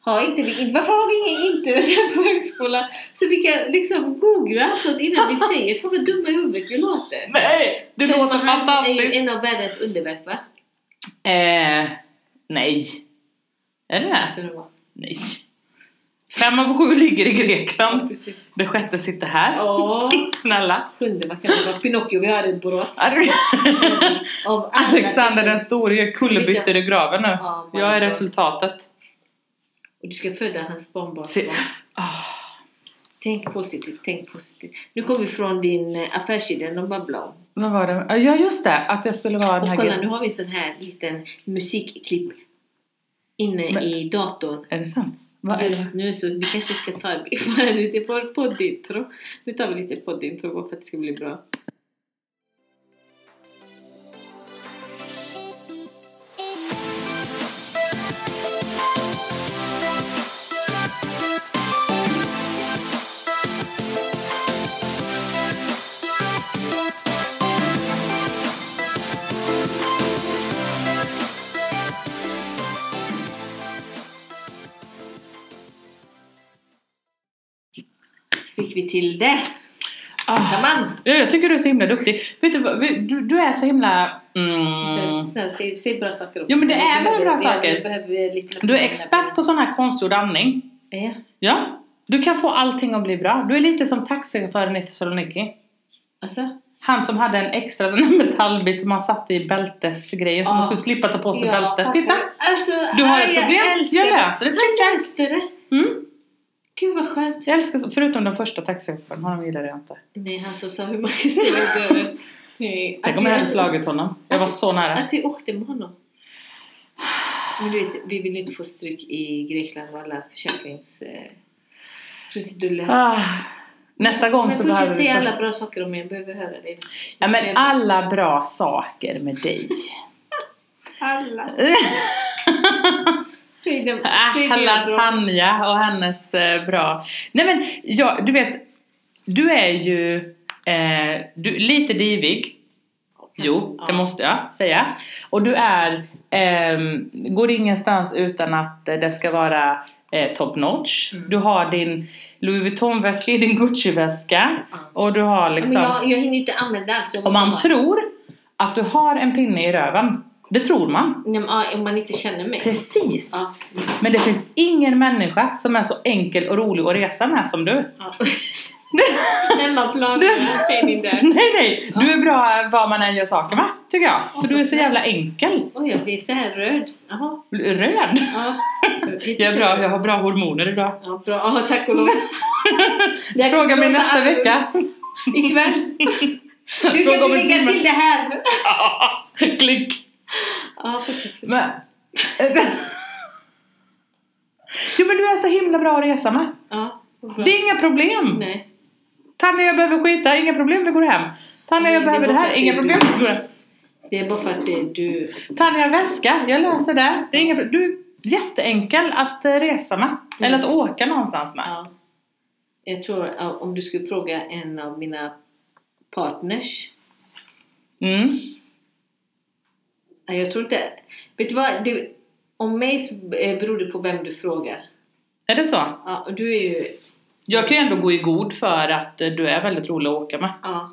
S1: Har inte vi, inte- varför har vi inget internet på högskolan? Så vi kan liksom googla allt innan vi säger. Fan vad dumma i huvudet vi låter.
S2: Nej! Du
S1: Taj
S2: låter
S1: Mahal är ju
S2: fantastiskt!
S1: en av världens underverk va?
S2: Eh, nej. Är det det?
S1: Måste det vara.
S2: Nej. Fem av sju ligger i
S1: Ja,
S2: Grekland.
S1: precis.
S2: Det sjätte sitter här.
S1: Ja,
S2: Snälla.
S1: sjunde vad kan det vara? Pinocchio, vi har en Borås. Av alla-
S2: Alexander den store gör kullerbyttor i graven nu.
S1: Ja, my
S2: Jag är
S1: God.
S2: resultatet.
S1: Och du ska föda hans
S2: Se-
S1: barnbarn.
S2: Ah.
S1: Tänk positivt, tänk positivt. Nu kom vi från din eh, affärsidé, de babblar om.
S2: Vad var det? Ja just det, att jag skulle vara den här
S1: Och kolla,
S2: gre-
S1: nu har vi en sån här liten musikklipp inne
S2: Men-
S1: i datorn.
S2: Är det sant? Vad är det?
S1: Just nu så vi kanske ska ta en- lite på- poddintro. Nu tar vi lite poddintro bara för att det ska bli bra. Så fick vi till det.
S2: Ah.
S1: Tamam!
S2: Ja, jag tycker du är så himla duktig. Vet du, vad? Vi- du, du är så himla... Mm,
S1: Snälla, Säg, säg bra saker. om
S2: Jo, men det
S1: oss.
S2: är
S1: Vi
S2: bara
S1: behöver-
S2: bra
S1: vi-
S2: saker.
S1: vi behöver lite-
S2: du är expert på sån här konstgjord andning.
S1: Ja.
S2: Ja. Du kan få allting att bli bra. Du är lite som taxichauffören i Thessaloniki.
S1: Alltså?
S2: Han som hade en extra sån här metallbit som han satte i bältesgrejen som
S1: Ah.
S2: man skulle slippa ta på sig
S1: Ja,
S2: bältet.
S1: fattar.
S2: Titta!
S1: Alltså,
S2: Du har ett
S1: aj,
S2: problem. Jag
S1: älskar det.
S2: löser det. Tjing, tjing.
S1: Jag älskar det.
S2: Mm.
S1: Gud vad skönt.
S2: Jag älskar, förutom den första taxichauffören, honom gillade jag inte.
S1: Nej, han som sa hur man ska ställa upp dörren. Nej,
S2: Tänk
S1: att
S2: om
S1: vi-
S2: jag hade slagit honom. Jag var så nära.
S1: Att vi åkte med honom. Men du vet, vi vill inte få stryk i Grekland med alla försäkrings... eh, krusiduller.
S2: Ah. Nästa gång
S1: Men
S2: så behöver
S1: fortsätt
S2: vi
S1: säga
S2: först...
S1: alla bra saker om jag behöver höra det.
S2: Ja men alla bra saker med dig. Ah,
S1: alla. Säg dem. Säg dina
S2: Alla
S1: bra.
S2: Tanja och hennes eh, bra... Nej men ja, du vet, du är ju eh, du, lite divig. Jo,
S1: Ja.
S2: det måste jag säga. Och du är, ehm, går ingenstans utan att eh, det ska vara eh, top notch.
S1: Mm.
S2: Du har din Louis Vuitton-väska i din Gucci-väska.
S1: Ja.
S2: Och du har
S1: Ja,
S2: liksom...
S1: Men jag, jag hinner inte använda allt. så jag
S2: Om
S1: måste
S2: man
S1: bara-
S2: tror att du har en pinne i röven, det tror man.
S1: Nej, men, ja, Om man inte känner mig.
S2: Precis!
S1: Ja.
S2: Men det finns ingen människa som är så enkel och rolig att resa med som du.
S1: Ja. Hemmaplan, träning där.
S2: Nej, nej! Du är bra vad man än gör saker med, tycker jag. För du är så jävla enkel.
S1: Oj, jag blir så här röd. Jaha.
S2: Röd!
S1: Ja.
S2: Jag, är bra, jag har bra hormoner idag.
S1: Ja, bra. Ja, tack och lov. Det här
S2: Fråga
S1: kommer
S2: mig
S1: låta
S2: nästa
S1: annorlunda
S2: vecka.
S1: Ikväll. Du
S2: Fråga
S1: kan
S2: om en
S1: lägga
S2: timme.
S1: till det här.
S2: Klick!
S1: Ja, fortsätt. fortsätt.
S2: Men... Jo men du är så himla bra att resa med.
S1: Ja, vad bra.
S2: Det är inga problem.
S1: Nej.
S2: Tanja jag behöver skita, inga problem, vi går hem. Tanja jag
S1: Det
S2: behöver det
S1: var
S2: här,
S1: för att
S2: inga
S1: det är
S2: problem,
S1: du.
S2: vi går hem.
S1: Det är bara för att det är du.
S2: Tanja väska, jag löser det. det är inga, pro- du är jätteenkel att eh, resa
S1: Mm.
S2: med. Eller att åka någonstans med.
S1: Ja. Jag tror ja, om du skulle fråga en av mina partners.
S2: Mm.
S1: Nej, Jag tror inte... Vet du vad? Det, om mig så eh, beror det på vem du frågar.
S2: Är det så?
S1: Ja, och du är ju...
S2: Jag kan ju ändå gå i god för att eh, du är väldigt rolig att åka med.
S1: Ja.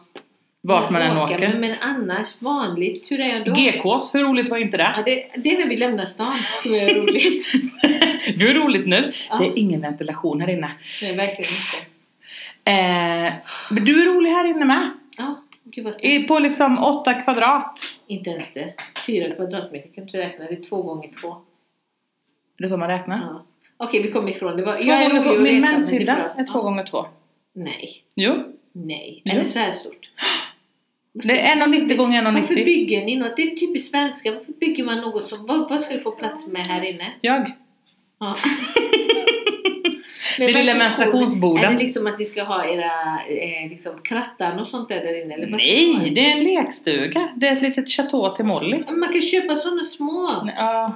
S2: Vart man än
S1: Åka, Men,
S2: åker.
S1: men annars, vanligt, hur är jag då?
S2: GKs, hur roligt var inte
S1: Ja,
S2: det?
S1: det, det är när vi lämnar stan som är roligt.
S2: Det är roligt nu.
S1: Ja.
S2: Det är ingen ventilation här inne.
S1: Nej, verkligen inte.
S2: Eh, men du är rolig här inne med.
S1: Ja, gud vad stort.
S2: I, på liksom åtta kvadrat.
S1: Inte ens det. Fyra kvadratmeter kan du räkna. Det är två gånger två.
S2: Är det så man räknar?
S1: Ja. Okej, vi kom ifrån. Det var,
S2: Två
S1: jag är
S2: gånger
S1: rolig
S2: två.
S1: att
S2: Min
S1: resa, men det
S2: menshydda
S1: bra.
S2: är två
S1: Ja.
S2: gånger två.
S1: Nej,
S2: Jo.
S1: nej.
S2: Jo.
S1: Är det så här stort?
S2: Det är 1,90 gånger
S1: Varför
S2: 1,90.
S1: bygger ni något? Det är typiskt svenska. Varför bygger man något som... Vad, vad ska du få plats med här inne?
S2: Jag.
S1: Ja. Men
S2: Det lilla
S1: varför
S2: menstruationsborden.
S1: Är det liksom att ni ska ha era eh, liksom, krattan och sånt där, där inne? Eller vad ska man
S2: Nej,
S1: ha?
S2: det är en lekstuga. Det är ett litet chateau till Molly.
S1: Men Man kan köpa såna små
S2: Ja,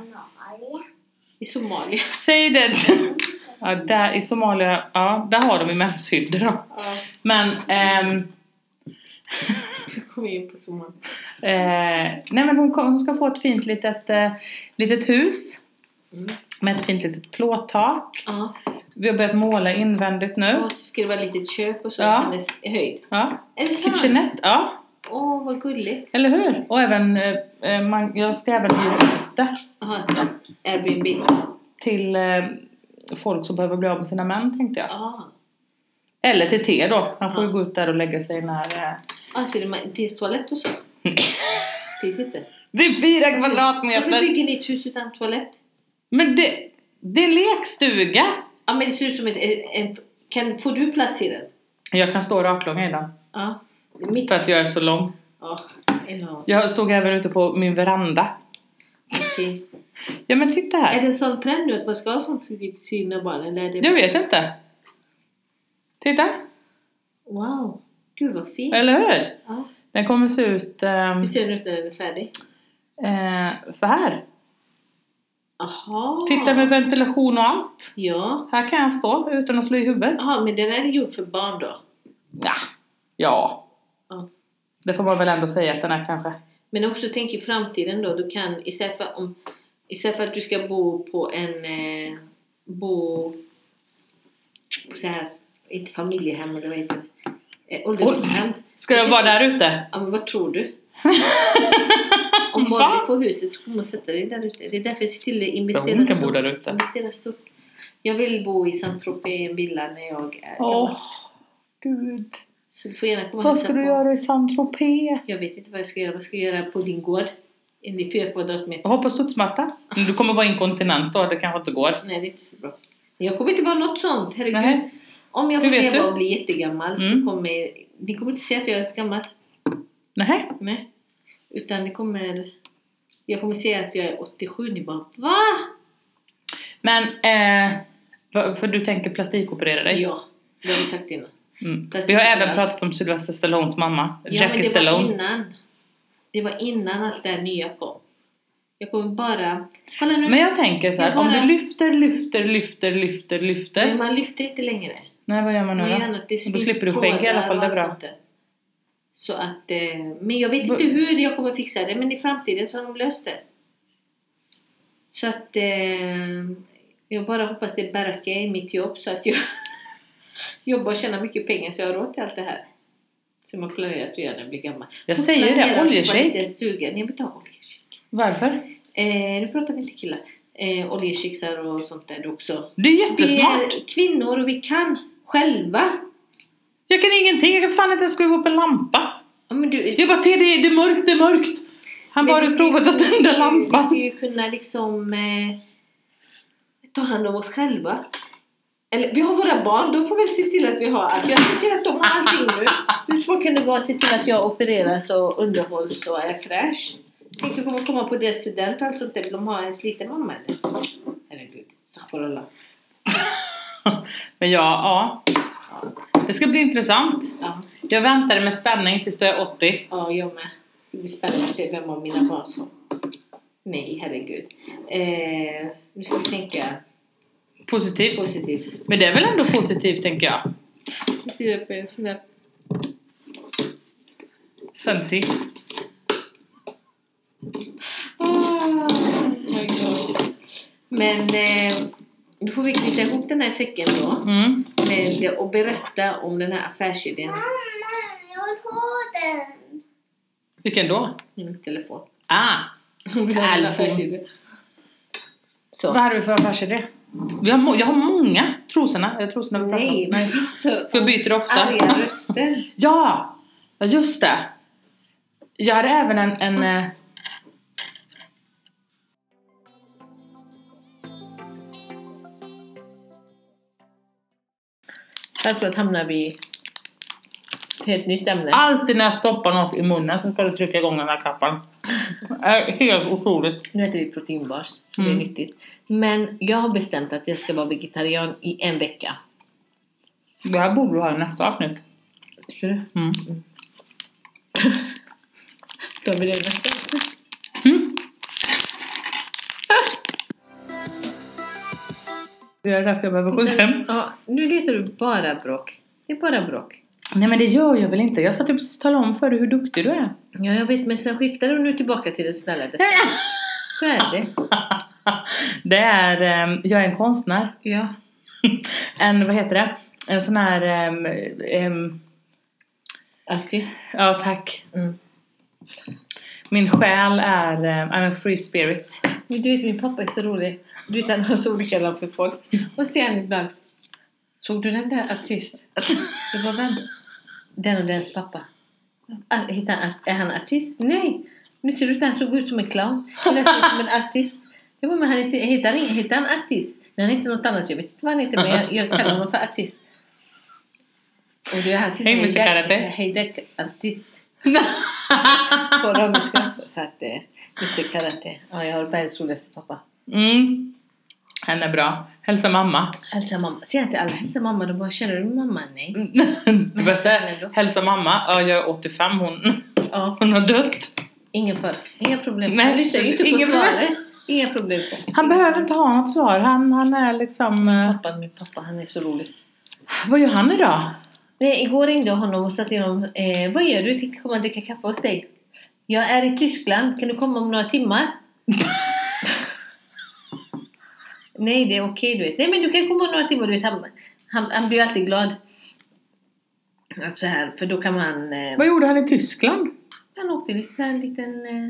S1: i Somalia.
S2: säg det. Ja, där i Somalia, ja, där har de ju menshyddor då.
S1: Ja,
S2: Men, ehm,
S1: du kom in på Somalia.
S2: eh, nej men hon, kom, hon ska få ett fint litet, eh, litet hus
S1: Mm.
S2: med ett fint litet plåttak.
S1: Ja.
S2: Vi har börjat måla invändigt nu.
S1: Och så ska det vara litet kök och så i
S2: Ja.
S1: hennes höjd.
S2: Ja,
S1: Är det sant?
S2: kitchenette, ja.
S1: Åh, vad gulligt.
S2: Eller hur? Och även, eh, eh, man, jag ska även hyra ut det
S1: Jaha, Airbnb.
S2: till eh, folk som behöver bli av med sina män tänkte jag.
S1: Ja.
S2: Eller till te då. Han får ju
S1: Ja.
S2: gå ut där och lägga sig när... eh,
S1: Alltså, det ma- finns toalett och så? finns inte.
S2: Det är fyra
S1: Varför
S2: kvadratmeter!
S1: bygger ni ett hus utan toalett?
S2: Men det, det är lekstuga!
S1: Ja, men det ser ut som ett... En, kan, får du plats i den?
S2: Jag kan stå raklång i den.
S1: Ja. Mitt...
S2: För att jag är så lång.
S1: Ja, enormt.
S2: Jag stod även ute på min veranda.
S1: Okej.
S2: Ja men titta
S1: Är
S2: här.
S1: det en sån trend nu att man ska ha sånt typ till sina barn? Eller är det...
S2: Jag vet inte. Titta!
S1: Wow! Gud vad fint!
S2: Eller hur?
S1: Ja.
S2: Den kommer se ut ehm,
S1: Hur ser den ut när den är färdig?
S2: eh, så här.
S1: Aha!
S2: Titta med ventilation och allt.
S1: Ja.
S2: Här kan jag stå utan att slå i huvudet.
S1: Jaha, men den är gjord för barn då?
S2: Ja. ja.
S1: Ja.
S2: Det får man väl ändå säga att den är kanske.
S1: Men också tänk i framtiden då, du kan istället för, om, istället för att du ska bo på en... Eh, bo... på Så här, inte familjehem eller vad heter det? Eh, Ålderdomshem.
S2: Ska jag vara där ute?
S1: Ja men vad tror du? Om Molly
S2: Va?
S1: får huset så kommer hon sätta dig där ute. Det är därför jag ser till att
S2: Ja,
S1: investera
S2: hon kan bo
S1: stort.
S2: där ute.
S1: Investera stort. Jag vill bo i Saint Tropez i en villa när jag är
S2: Åh,
S1: gammal.
S2: gud.
S1: Så du får gärna komma och
S2: Vad
S1: hälsa
S2: ska
S1: på.
S2: du göra i Saint-Tropez?
S1: Jag vet inte vad jag ska göra. Vad ska jag göra på din gård? En i fyra kvadratmeter.
S2: Jag hoppas studsmatta. Men Du kommer vara inkontinent då, det kanske inte går.
S1: Nej det är inte så bra. Jag kommer inte vara något sånt. Herregud.
S2: Nej.
S1: Om jag
S2: Hur
S1: får
S2: vet
S1: leva
S2: du?
S1: och bli jättegammal
S2: Mm.
S1: så kommer... Ni kommer inte se att jag är ens gammal.
S2: Nej.
S1: Nej. Utan det kommer... Jag kommer se att jag är 87. Ni bara VA?
S2: Men, eh, va- för du tänker plastikoperera dig?
S1: Ja, det har vi sagt innan.
S2: Mm. Vi har
S1: Plastikopera-
S2: även pratat om Sylvester Stallones mamma,
S1: ja, men
S2: Jackie
S1: det
S2: Stallone.
S1: Var innan, det var innan allt det här nya kom. Jag kommer bara... Kolla nu,
S2: Men
S1: men,
S2: jag tänker så här,
S1: Jag bara-
S2: om du lyfter, lyfter, lyfter, lyfter, lyfter.
S1: man lyfter inte längre.
S2: Nej, vad gör man nu
S1: Man
S2: då?
S1: gör annat, det
S2: Då
S1: finns
S2: slipper du skägg i alla fall, det
S1: trådar
S2: är
S1: och
S2: bra.
S1: allt sånt där. alltså. Så att... eh, Men jag vet
S2: Bu-
S1: inte hur jag kommer fixa det, men i framtiden så har de löst det. Så att... eh, Jag bara hoppas det bärkar i mitt jobb så att jag jobbar och tjänar mycket pengar så jag har råd till allt det här. Som jag planerat att göra när jag blir gammal.
S2: Jag säger det, oljeshake.
S1: Stugan. Jag vill ta oljeshake.
S2: Varför?
S1: Eh, nu pratar vi inte killar. Eh, oljeshakesar och sånt där också.
S2: Det är
S1: Vi
S2: jättesmart!
S1: är kvinnor och vi kan själva.
S2: Jag kan ingenting, jag kan fan inte ens skruva upp en lampa.
S1: Ja, men du,
S2: Jag bara, "Te, det är, det är mörkt, det är mörkt. Han bara,
S1: Men
S2: har
S1: vi
S2: du
S1: ska ju-
S2: provat att tända
S1: Vi ska
S2: lampan?
S1: ju kunna liksom eh, ta hand om oss själva. Eller vi har våra barn, de får väl se till att vi har allt. Jag ser till att de har allting nu. Hur svårt kan det vara att se till att jag opereras och underhålls och är fräsch? Tänk att kommer komma på deras student och allt sånt där. Vill de ha en sliten mamma eller? Herregud, astaghfirullah.
S2: Men ja, ja. Det ska bli intressant.
S1: Ja,
S2: Jag väntar med spänning tills du är 80.
S1: ja, jag med. Det blir spännande att se vem av mina barn som... Nej, herregud. Eh, nu ska vi tänka
S2: Positivt.
S1: positivt.
S2: Men det är väl ändå positivt, tänker jag.
S1: Jag tittar på en snap.
S2: Sensi.
S1: Ah, my God. Men eh, då får vi knyta ihop den här säcken då
S2: Mm.
S1: med, och berätta om den här affärsidén.
S2: Vilken då?
S1: Min telefon.
S2: Ah! Telefon.
S1: Affärsidé.
S2: Vad
S1: Så.
S2: hade vi för affärsidé? Vi har må- jag har många trosorna. Eller trosorna vi pratar
S1: Nej,
S2: om.
S1: men pratar
S2: För jag
S1: om
S2: byter ofta.
S1: arga röster.
S2: Ja! Ja, just det. Jag hade även en... en eh,
S1: Självklart hamnar vi i ett helt nytt ämne. Ah.
S2: Alltid när jag stoppar något i munnen så ska du trycka igång den här knappen. Eh, Är helt otroligt.
S1: Nu äter vi proteinbars, så det är
S2: Mm.
S1: nyttigt. Men jag har bestämt att jag ska vara vegetarian i en vecka.
S2: Det här borde du ha i nästa avsnitt.
S1: Tycker du?
S2: Mm.
S1: Tar vi det nästa?
S2: Det är därför jag behöver skjuts hem.
S1: Ja, nu letar du bara bråk. Det är bara bråk.
S2: Nej men det gör jag väl inte. Jag satt ju precis och talade om för dig hur duktig du är.
S1: Ja, jag vet, men sen skiftar du nu tillbaka till det snälla. Det så är det.
S2: det är, ehm, jag är en konstnär.
S1: Ja.
S2: En, vad heter det? En sån här, ehm, ehm,
S1: Artist.
S2: ja tack.
S1: Mm.
S2: Min själ är, ehm, I'm a free spirit.
S1: Men du vet, min pappa är så rolig. Du vet, han har så olika namn för folk. Och så är han ibland. Såg du den där artist? Det var vem? Den och dens pappa. Ar- hittar han, är han artist? Nej! Men ser ut, han såg ut som en clown. Eller att han är som en artist. Jag bara, men han heter, heter, han, heter han artist? Nej, han heter något annat. Jag vet inte vad han heter, men jag, jag kallar honom för artist. Och det är han sitter
S2: Hej, Mr.
S1: Heidek-
S2: Karate.
S1: Heidek artist. På romska. Så att, eh, Mr Karate. Ja, jag har världens roligaste pappa.
S2: Mm. Han är bra. Hälsa mamma.
S1: Hälsa mamma. Säger jag till alla, hälsa mamma. De bara, känner du mamma?
S2: Mm.
S1: Nej.
S2: Du bara
S1: hälsa henne
S2: säger,
S1: då.
S2: hälsa mamma. Ja, jag är 85. Hon,
S1: Ja,
S2: hon har dött.
S1: ingen fara. Inga problem.
S2: Nej,
S1: Nej, du säger ju inte
S2: inga
S1: på
S2: problem.
S1: svaret. Inga problem.
S2: Han behöver inte ha något svar. Han, han är liksom... eh,
S1: Pappa, min pappa, han är så rolig.
S2: Vad gör han idag?
S1: Nej, igår ringde jag honom och sa till honom, eh, vad gör du? Jag tänkte komma och dricka kaffe hos dig. Jag är i Tyskland, kan du komma om några timmar? Nej, det är okej du vet. Nej, men du kan komma om några timmar. Du vet, han, han, han blir ju alltid glad. Att Så här, för då kan man... Eh,
S2: Vad gjorde han i Tyskland?
S1: han åkte lite, en liten eh,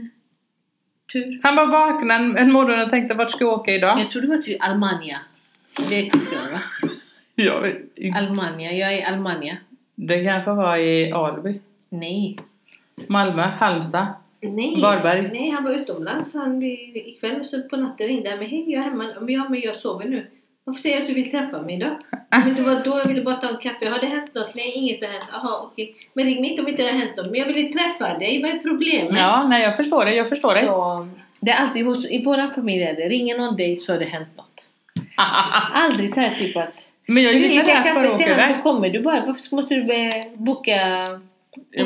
S1: tur.
S2: Han bara vaknade en, en morgon och tänkte vart ska jag åka idag?
S1: Jag tror det var till Almania. Det är Tyskland va?
S2: Jag vet inte.
S1: Almania, jag är i Almania.
S2: det kanske var i Alby,
S1: Nej.
S2: Malmö, Halmstad.
S1: Nej.
S2: Varberg.
S1: Nej, han var utomlands. Han blev- ikväll och så på natten ringde han mig. Hej, jag är hemma. Men ja, men jag sover nu. Varför säger du att du vill träffa mig då? Men det var då jag ville bara ta en kaffe. Har det hänt något? Nej, inget har hänt. Jaha, okej. Men ring mig inte om inte det har hänt något. Men jag ville träffa dig. Vad är problemet?
S2: Ja, nej jag förstår det, jag förstår det.
S1: Så, det är alltid hos, i vår familj är det. Ringer någon dig så har det hänt något. Aldrig så här typ att
S2: Men jag
S1: Du
S2: gillar det
S1: dricker
S2: att bara
S1: kaffe
S2: åka
S1: senare, då
S2: iväg.
S1: kommer du bara. Varför måste du eh, boka,
S2: Ja,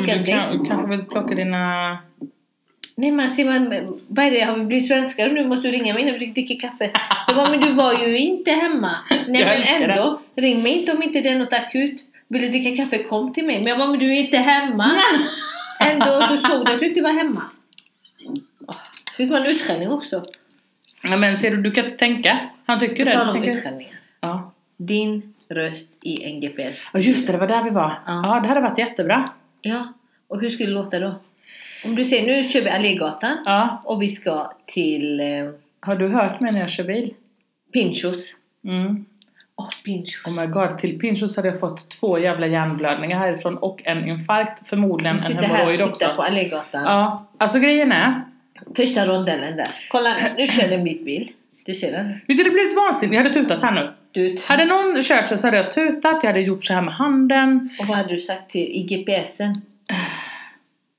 S1: boka
S2: men
S1: en
S2: Du
S1: dejt?
S2: kan- kanske vill plocka dina...
S1: Nej men ser man, vad är det, har vi blivit svenskar nu? Måste du ringa mig när vi dricker kaffe? Jag bara, men du var ju inte hemma. Nej
S2: Jag
S1: men
S2: älskar
S1: ändå, ring mig inte om inte det är något akut. Vill du dricka kaffe, kom till mig. Men jag bara, men du är inte hemma. Ändå, du såg det att du inte var hemma. Så fick man utskällning också.
S2: Ja, men ser du, du kan inte tänka. Han tycker
S1: På
S2: det.
S1: tal om
S2: Tänker-
S1: utskällningar.
S2: Ja.
S1: Din röst i en GPS.
S2: ja, just det, det var där vi var.
S1: Ja.
S2: Ja, det hade varit jättebra.
S1: Ja, och hur skulle det låta då? Om du säger, nu kör vi Allégatan.
S2: Ja.
S1: Och vi ska till eh,
S2: Har du hört mig när jag kör bil?
S1: Pinchos.
S2: Mm.
S1: Åh, Pinchos.
S2: Oh my god, till Pinchos hade jag fått två jävla hjärnblödningar härifrån och en infarkt, förmodligen en
S1: Sitta här
S2: hemorrojd
S1: och titta
S2: också.
S1: på Allégatan.
S2: Ja, alltså grejen är.
S1: Första rondellen där. Kolla, nu kör en bitbil. Du ser den?
S2: Vet du, det blev ett vansinnigt. Jag hade tutat här nu.
S1: Du tar-
S2: Hade någon kört så, så hade jag tutat, jag hade gjort så här med handen.
S1: och vad hade du sagt till, i GPSen?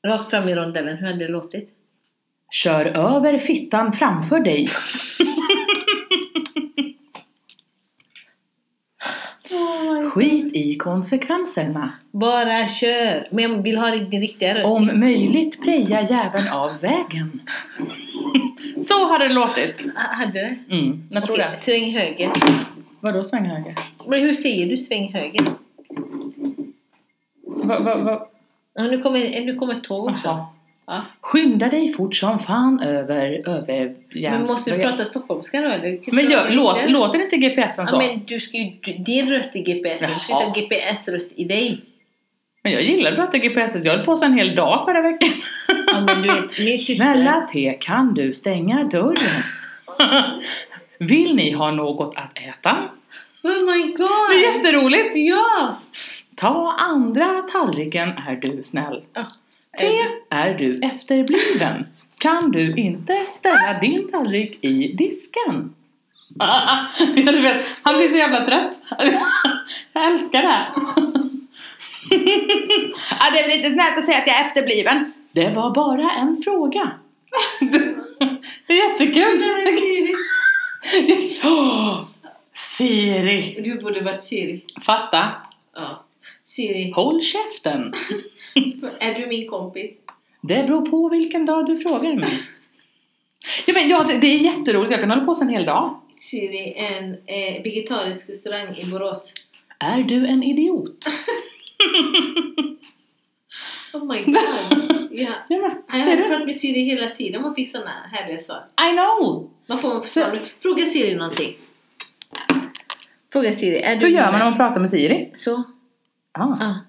S1: Rakt fram i rondellen, hur hade det låtit?
S2: Kör över fittan framför dig. Skit i konsekvenserna.
S1: Bara kör! Men jag vill ha din riktiga röst.
S2: Om möjligt preja jäveln av vägen. Så hade det låtit.
S1: Ah, Hade det?
S2: Mm, jag tror
S1: Okej,
S2: det.
S1: Sväng höger.
S2: Vadå sväng höger?
S1: Men hur säger du sväng höger?
S2: Va, va, va?
S1: Ja, nu, kommer, nu kommer ett tåg också.
S2: Jaha.
S1: Ja.
S2: Skynda dig fort som fan över
S1: Men måste du
S2: överjärnsvägen.
S1: prata stockholmska då eller?
S2: Men gör, låt,
S1: Eller?
S2: låter inte GPSen så?
S1: Ja, men du ska ju, du- din röst i GPS. Du ska
S2: Jaha.
S1: inte ha GPS-röst i dig.
S2: Men jag gillar att prata GPS. Jag höll på så en hel dag förra veckan.
S1: Ja, men du vet, min syster...
S2: Snälla T, kan du stänga dörren? Vill ni ha något att äta?
S1: Oh my god!
S2: Det är jätteroligt!
S1: Ja!
S2: Ta andra tallriken är du snäll.
S1: Ja.
S2: T, är du efterbliven? Kan du inte ställa din tallrik i disken? Ja, du vet, han blir så jävla trött. Jag älskar det. ja, det är lite snällt att säga att jag är efterbliven. Det var bara en fråga. Det är jättekul!
S1: Nej, men Siri.
S2: Åh, Siri!
S1: Du borde varit Siri.
S2: Fatta!
S1: Ja. Siri,
S2: Håll käften!
S1: är du min kompis?
S2: Det beror på vilken dag du frågar mig. Ja, men ja, det, det är jätteroligt. Jag kan hålla på så en hel dag.
S1: Siri, en eh, vegetarisk restaurang i Borås.
S2: Är du en idiot?
S1: Oh my god. ja.
S2: Ja, men, ser
S1: Jag har
S2: du?
S1: pratat med Siri hela tiden. Man fick såna härliga svar.
S2: I know!
S1: Man får svar. Fråga Siri någonting. Fråga Siri, är du
S2: Hur gör
S1: min
S2: man om
S1: vän?
S2: man pratar med Siri?
S1: Så.
S2: Ah.
S1: Ja.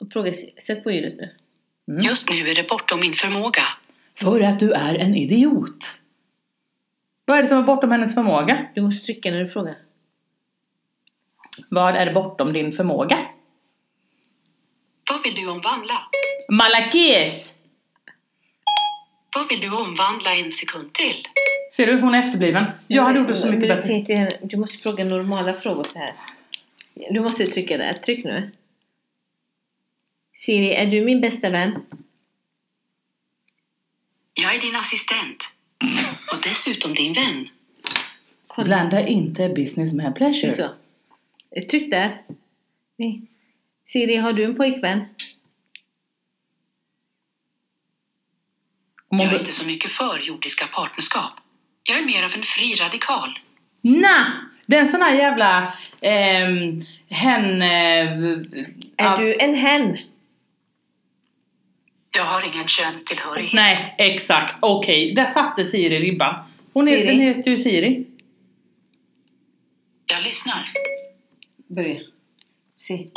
S1: Och Fråga Siri. Sätt på ljudet nu.
S3: Just nu är det bortom min förmåga.
S2: mm. För att du är en idiot. Vad är det som är bortom hennes förmåga?
S1: Du måste trycka när du frågar.
S2: Vad är bortom din förmåga?
S3: Vad vill du omvandla?
S2: Malakis!
S3: Vad vill du omvandla en sekund till?
S2: Ser du, hon är efterbliven. Jag hade gjort det så mycket
S1: du,
S2: bättre.
S1: säger till henne, du måste fråga normala frågor så här. Du måste trycka där. Tryck nu. Siri, är du min bästa vän?
S3: Jag är din assistent. Och dessutom din vän.
S2: Blanda inte business med pleasure.
S1: Så. Eh, Tryck där. Nej. Siri, har du en pojkvän?
S2: Om hon
S3: Jag är
S2: bör-
S3: inte så mycket för jordiska partnerskap. Jag är mer av en fri radikal.
S2: Na! Det är en sån här jävla ehm, hen... Eh,
S1: Är
S2: ja,
S1: du en hen?
S3: Jag har ingen könstillhörighet.
S2: Nej, exakt. Okej, där satte Siri ribban. Hon är,
S1: Siri.
S2: Den heter ju Siri.
S3: Jag lyssnar.
S1: Börja. Si.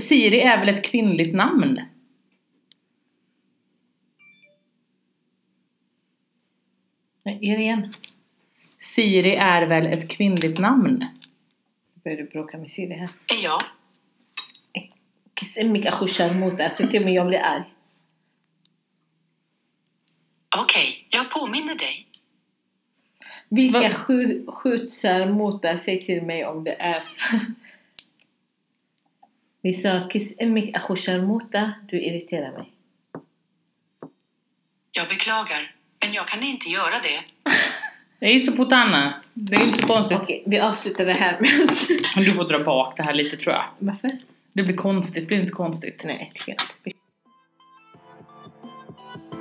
S2: Siri är väl ett kvinnligt namn?
S1: Nej, Gör det igen.
S2: Siri är väl ett kvinnligt namn?
S1: Nu börjar du bråka med Siri här.
S3: Är jag?
S1: Så mycket skjutsar mot det. Så till och med jag blir arg.
S3: Okej, jag påminner dig.
S1: Vilka
S2: Vad-
S1: sju, skjutsar mot det? Säg till mig om det är. Vi sa kiss eh, emmik akhushar Du irriterar mig.
S3: Jag beklagar, men jag kan inte göra det.
S2: Det är ju så potana. Det är inte så konstigt.
S1: Okej, vi avslutar det här med...
S2: Men Du får dra bak det här lite tror jag.
S1: Varför?
S2: Det blir konstigt, blir inte konstigt?
S1: Nej, tycker jag inte.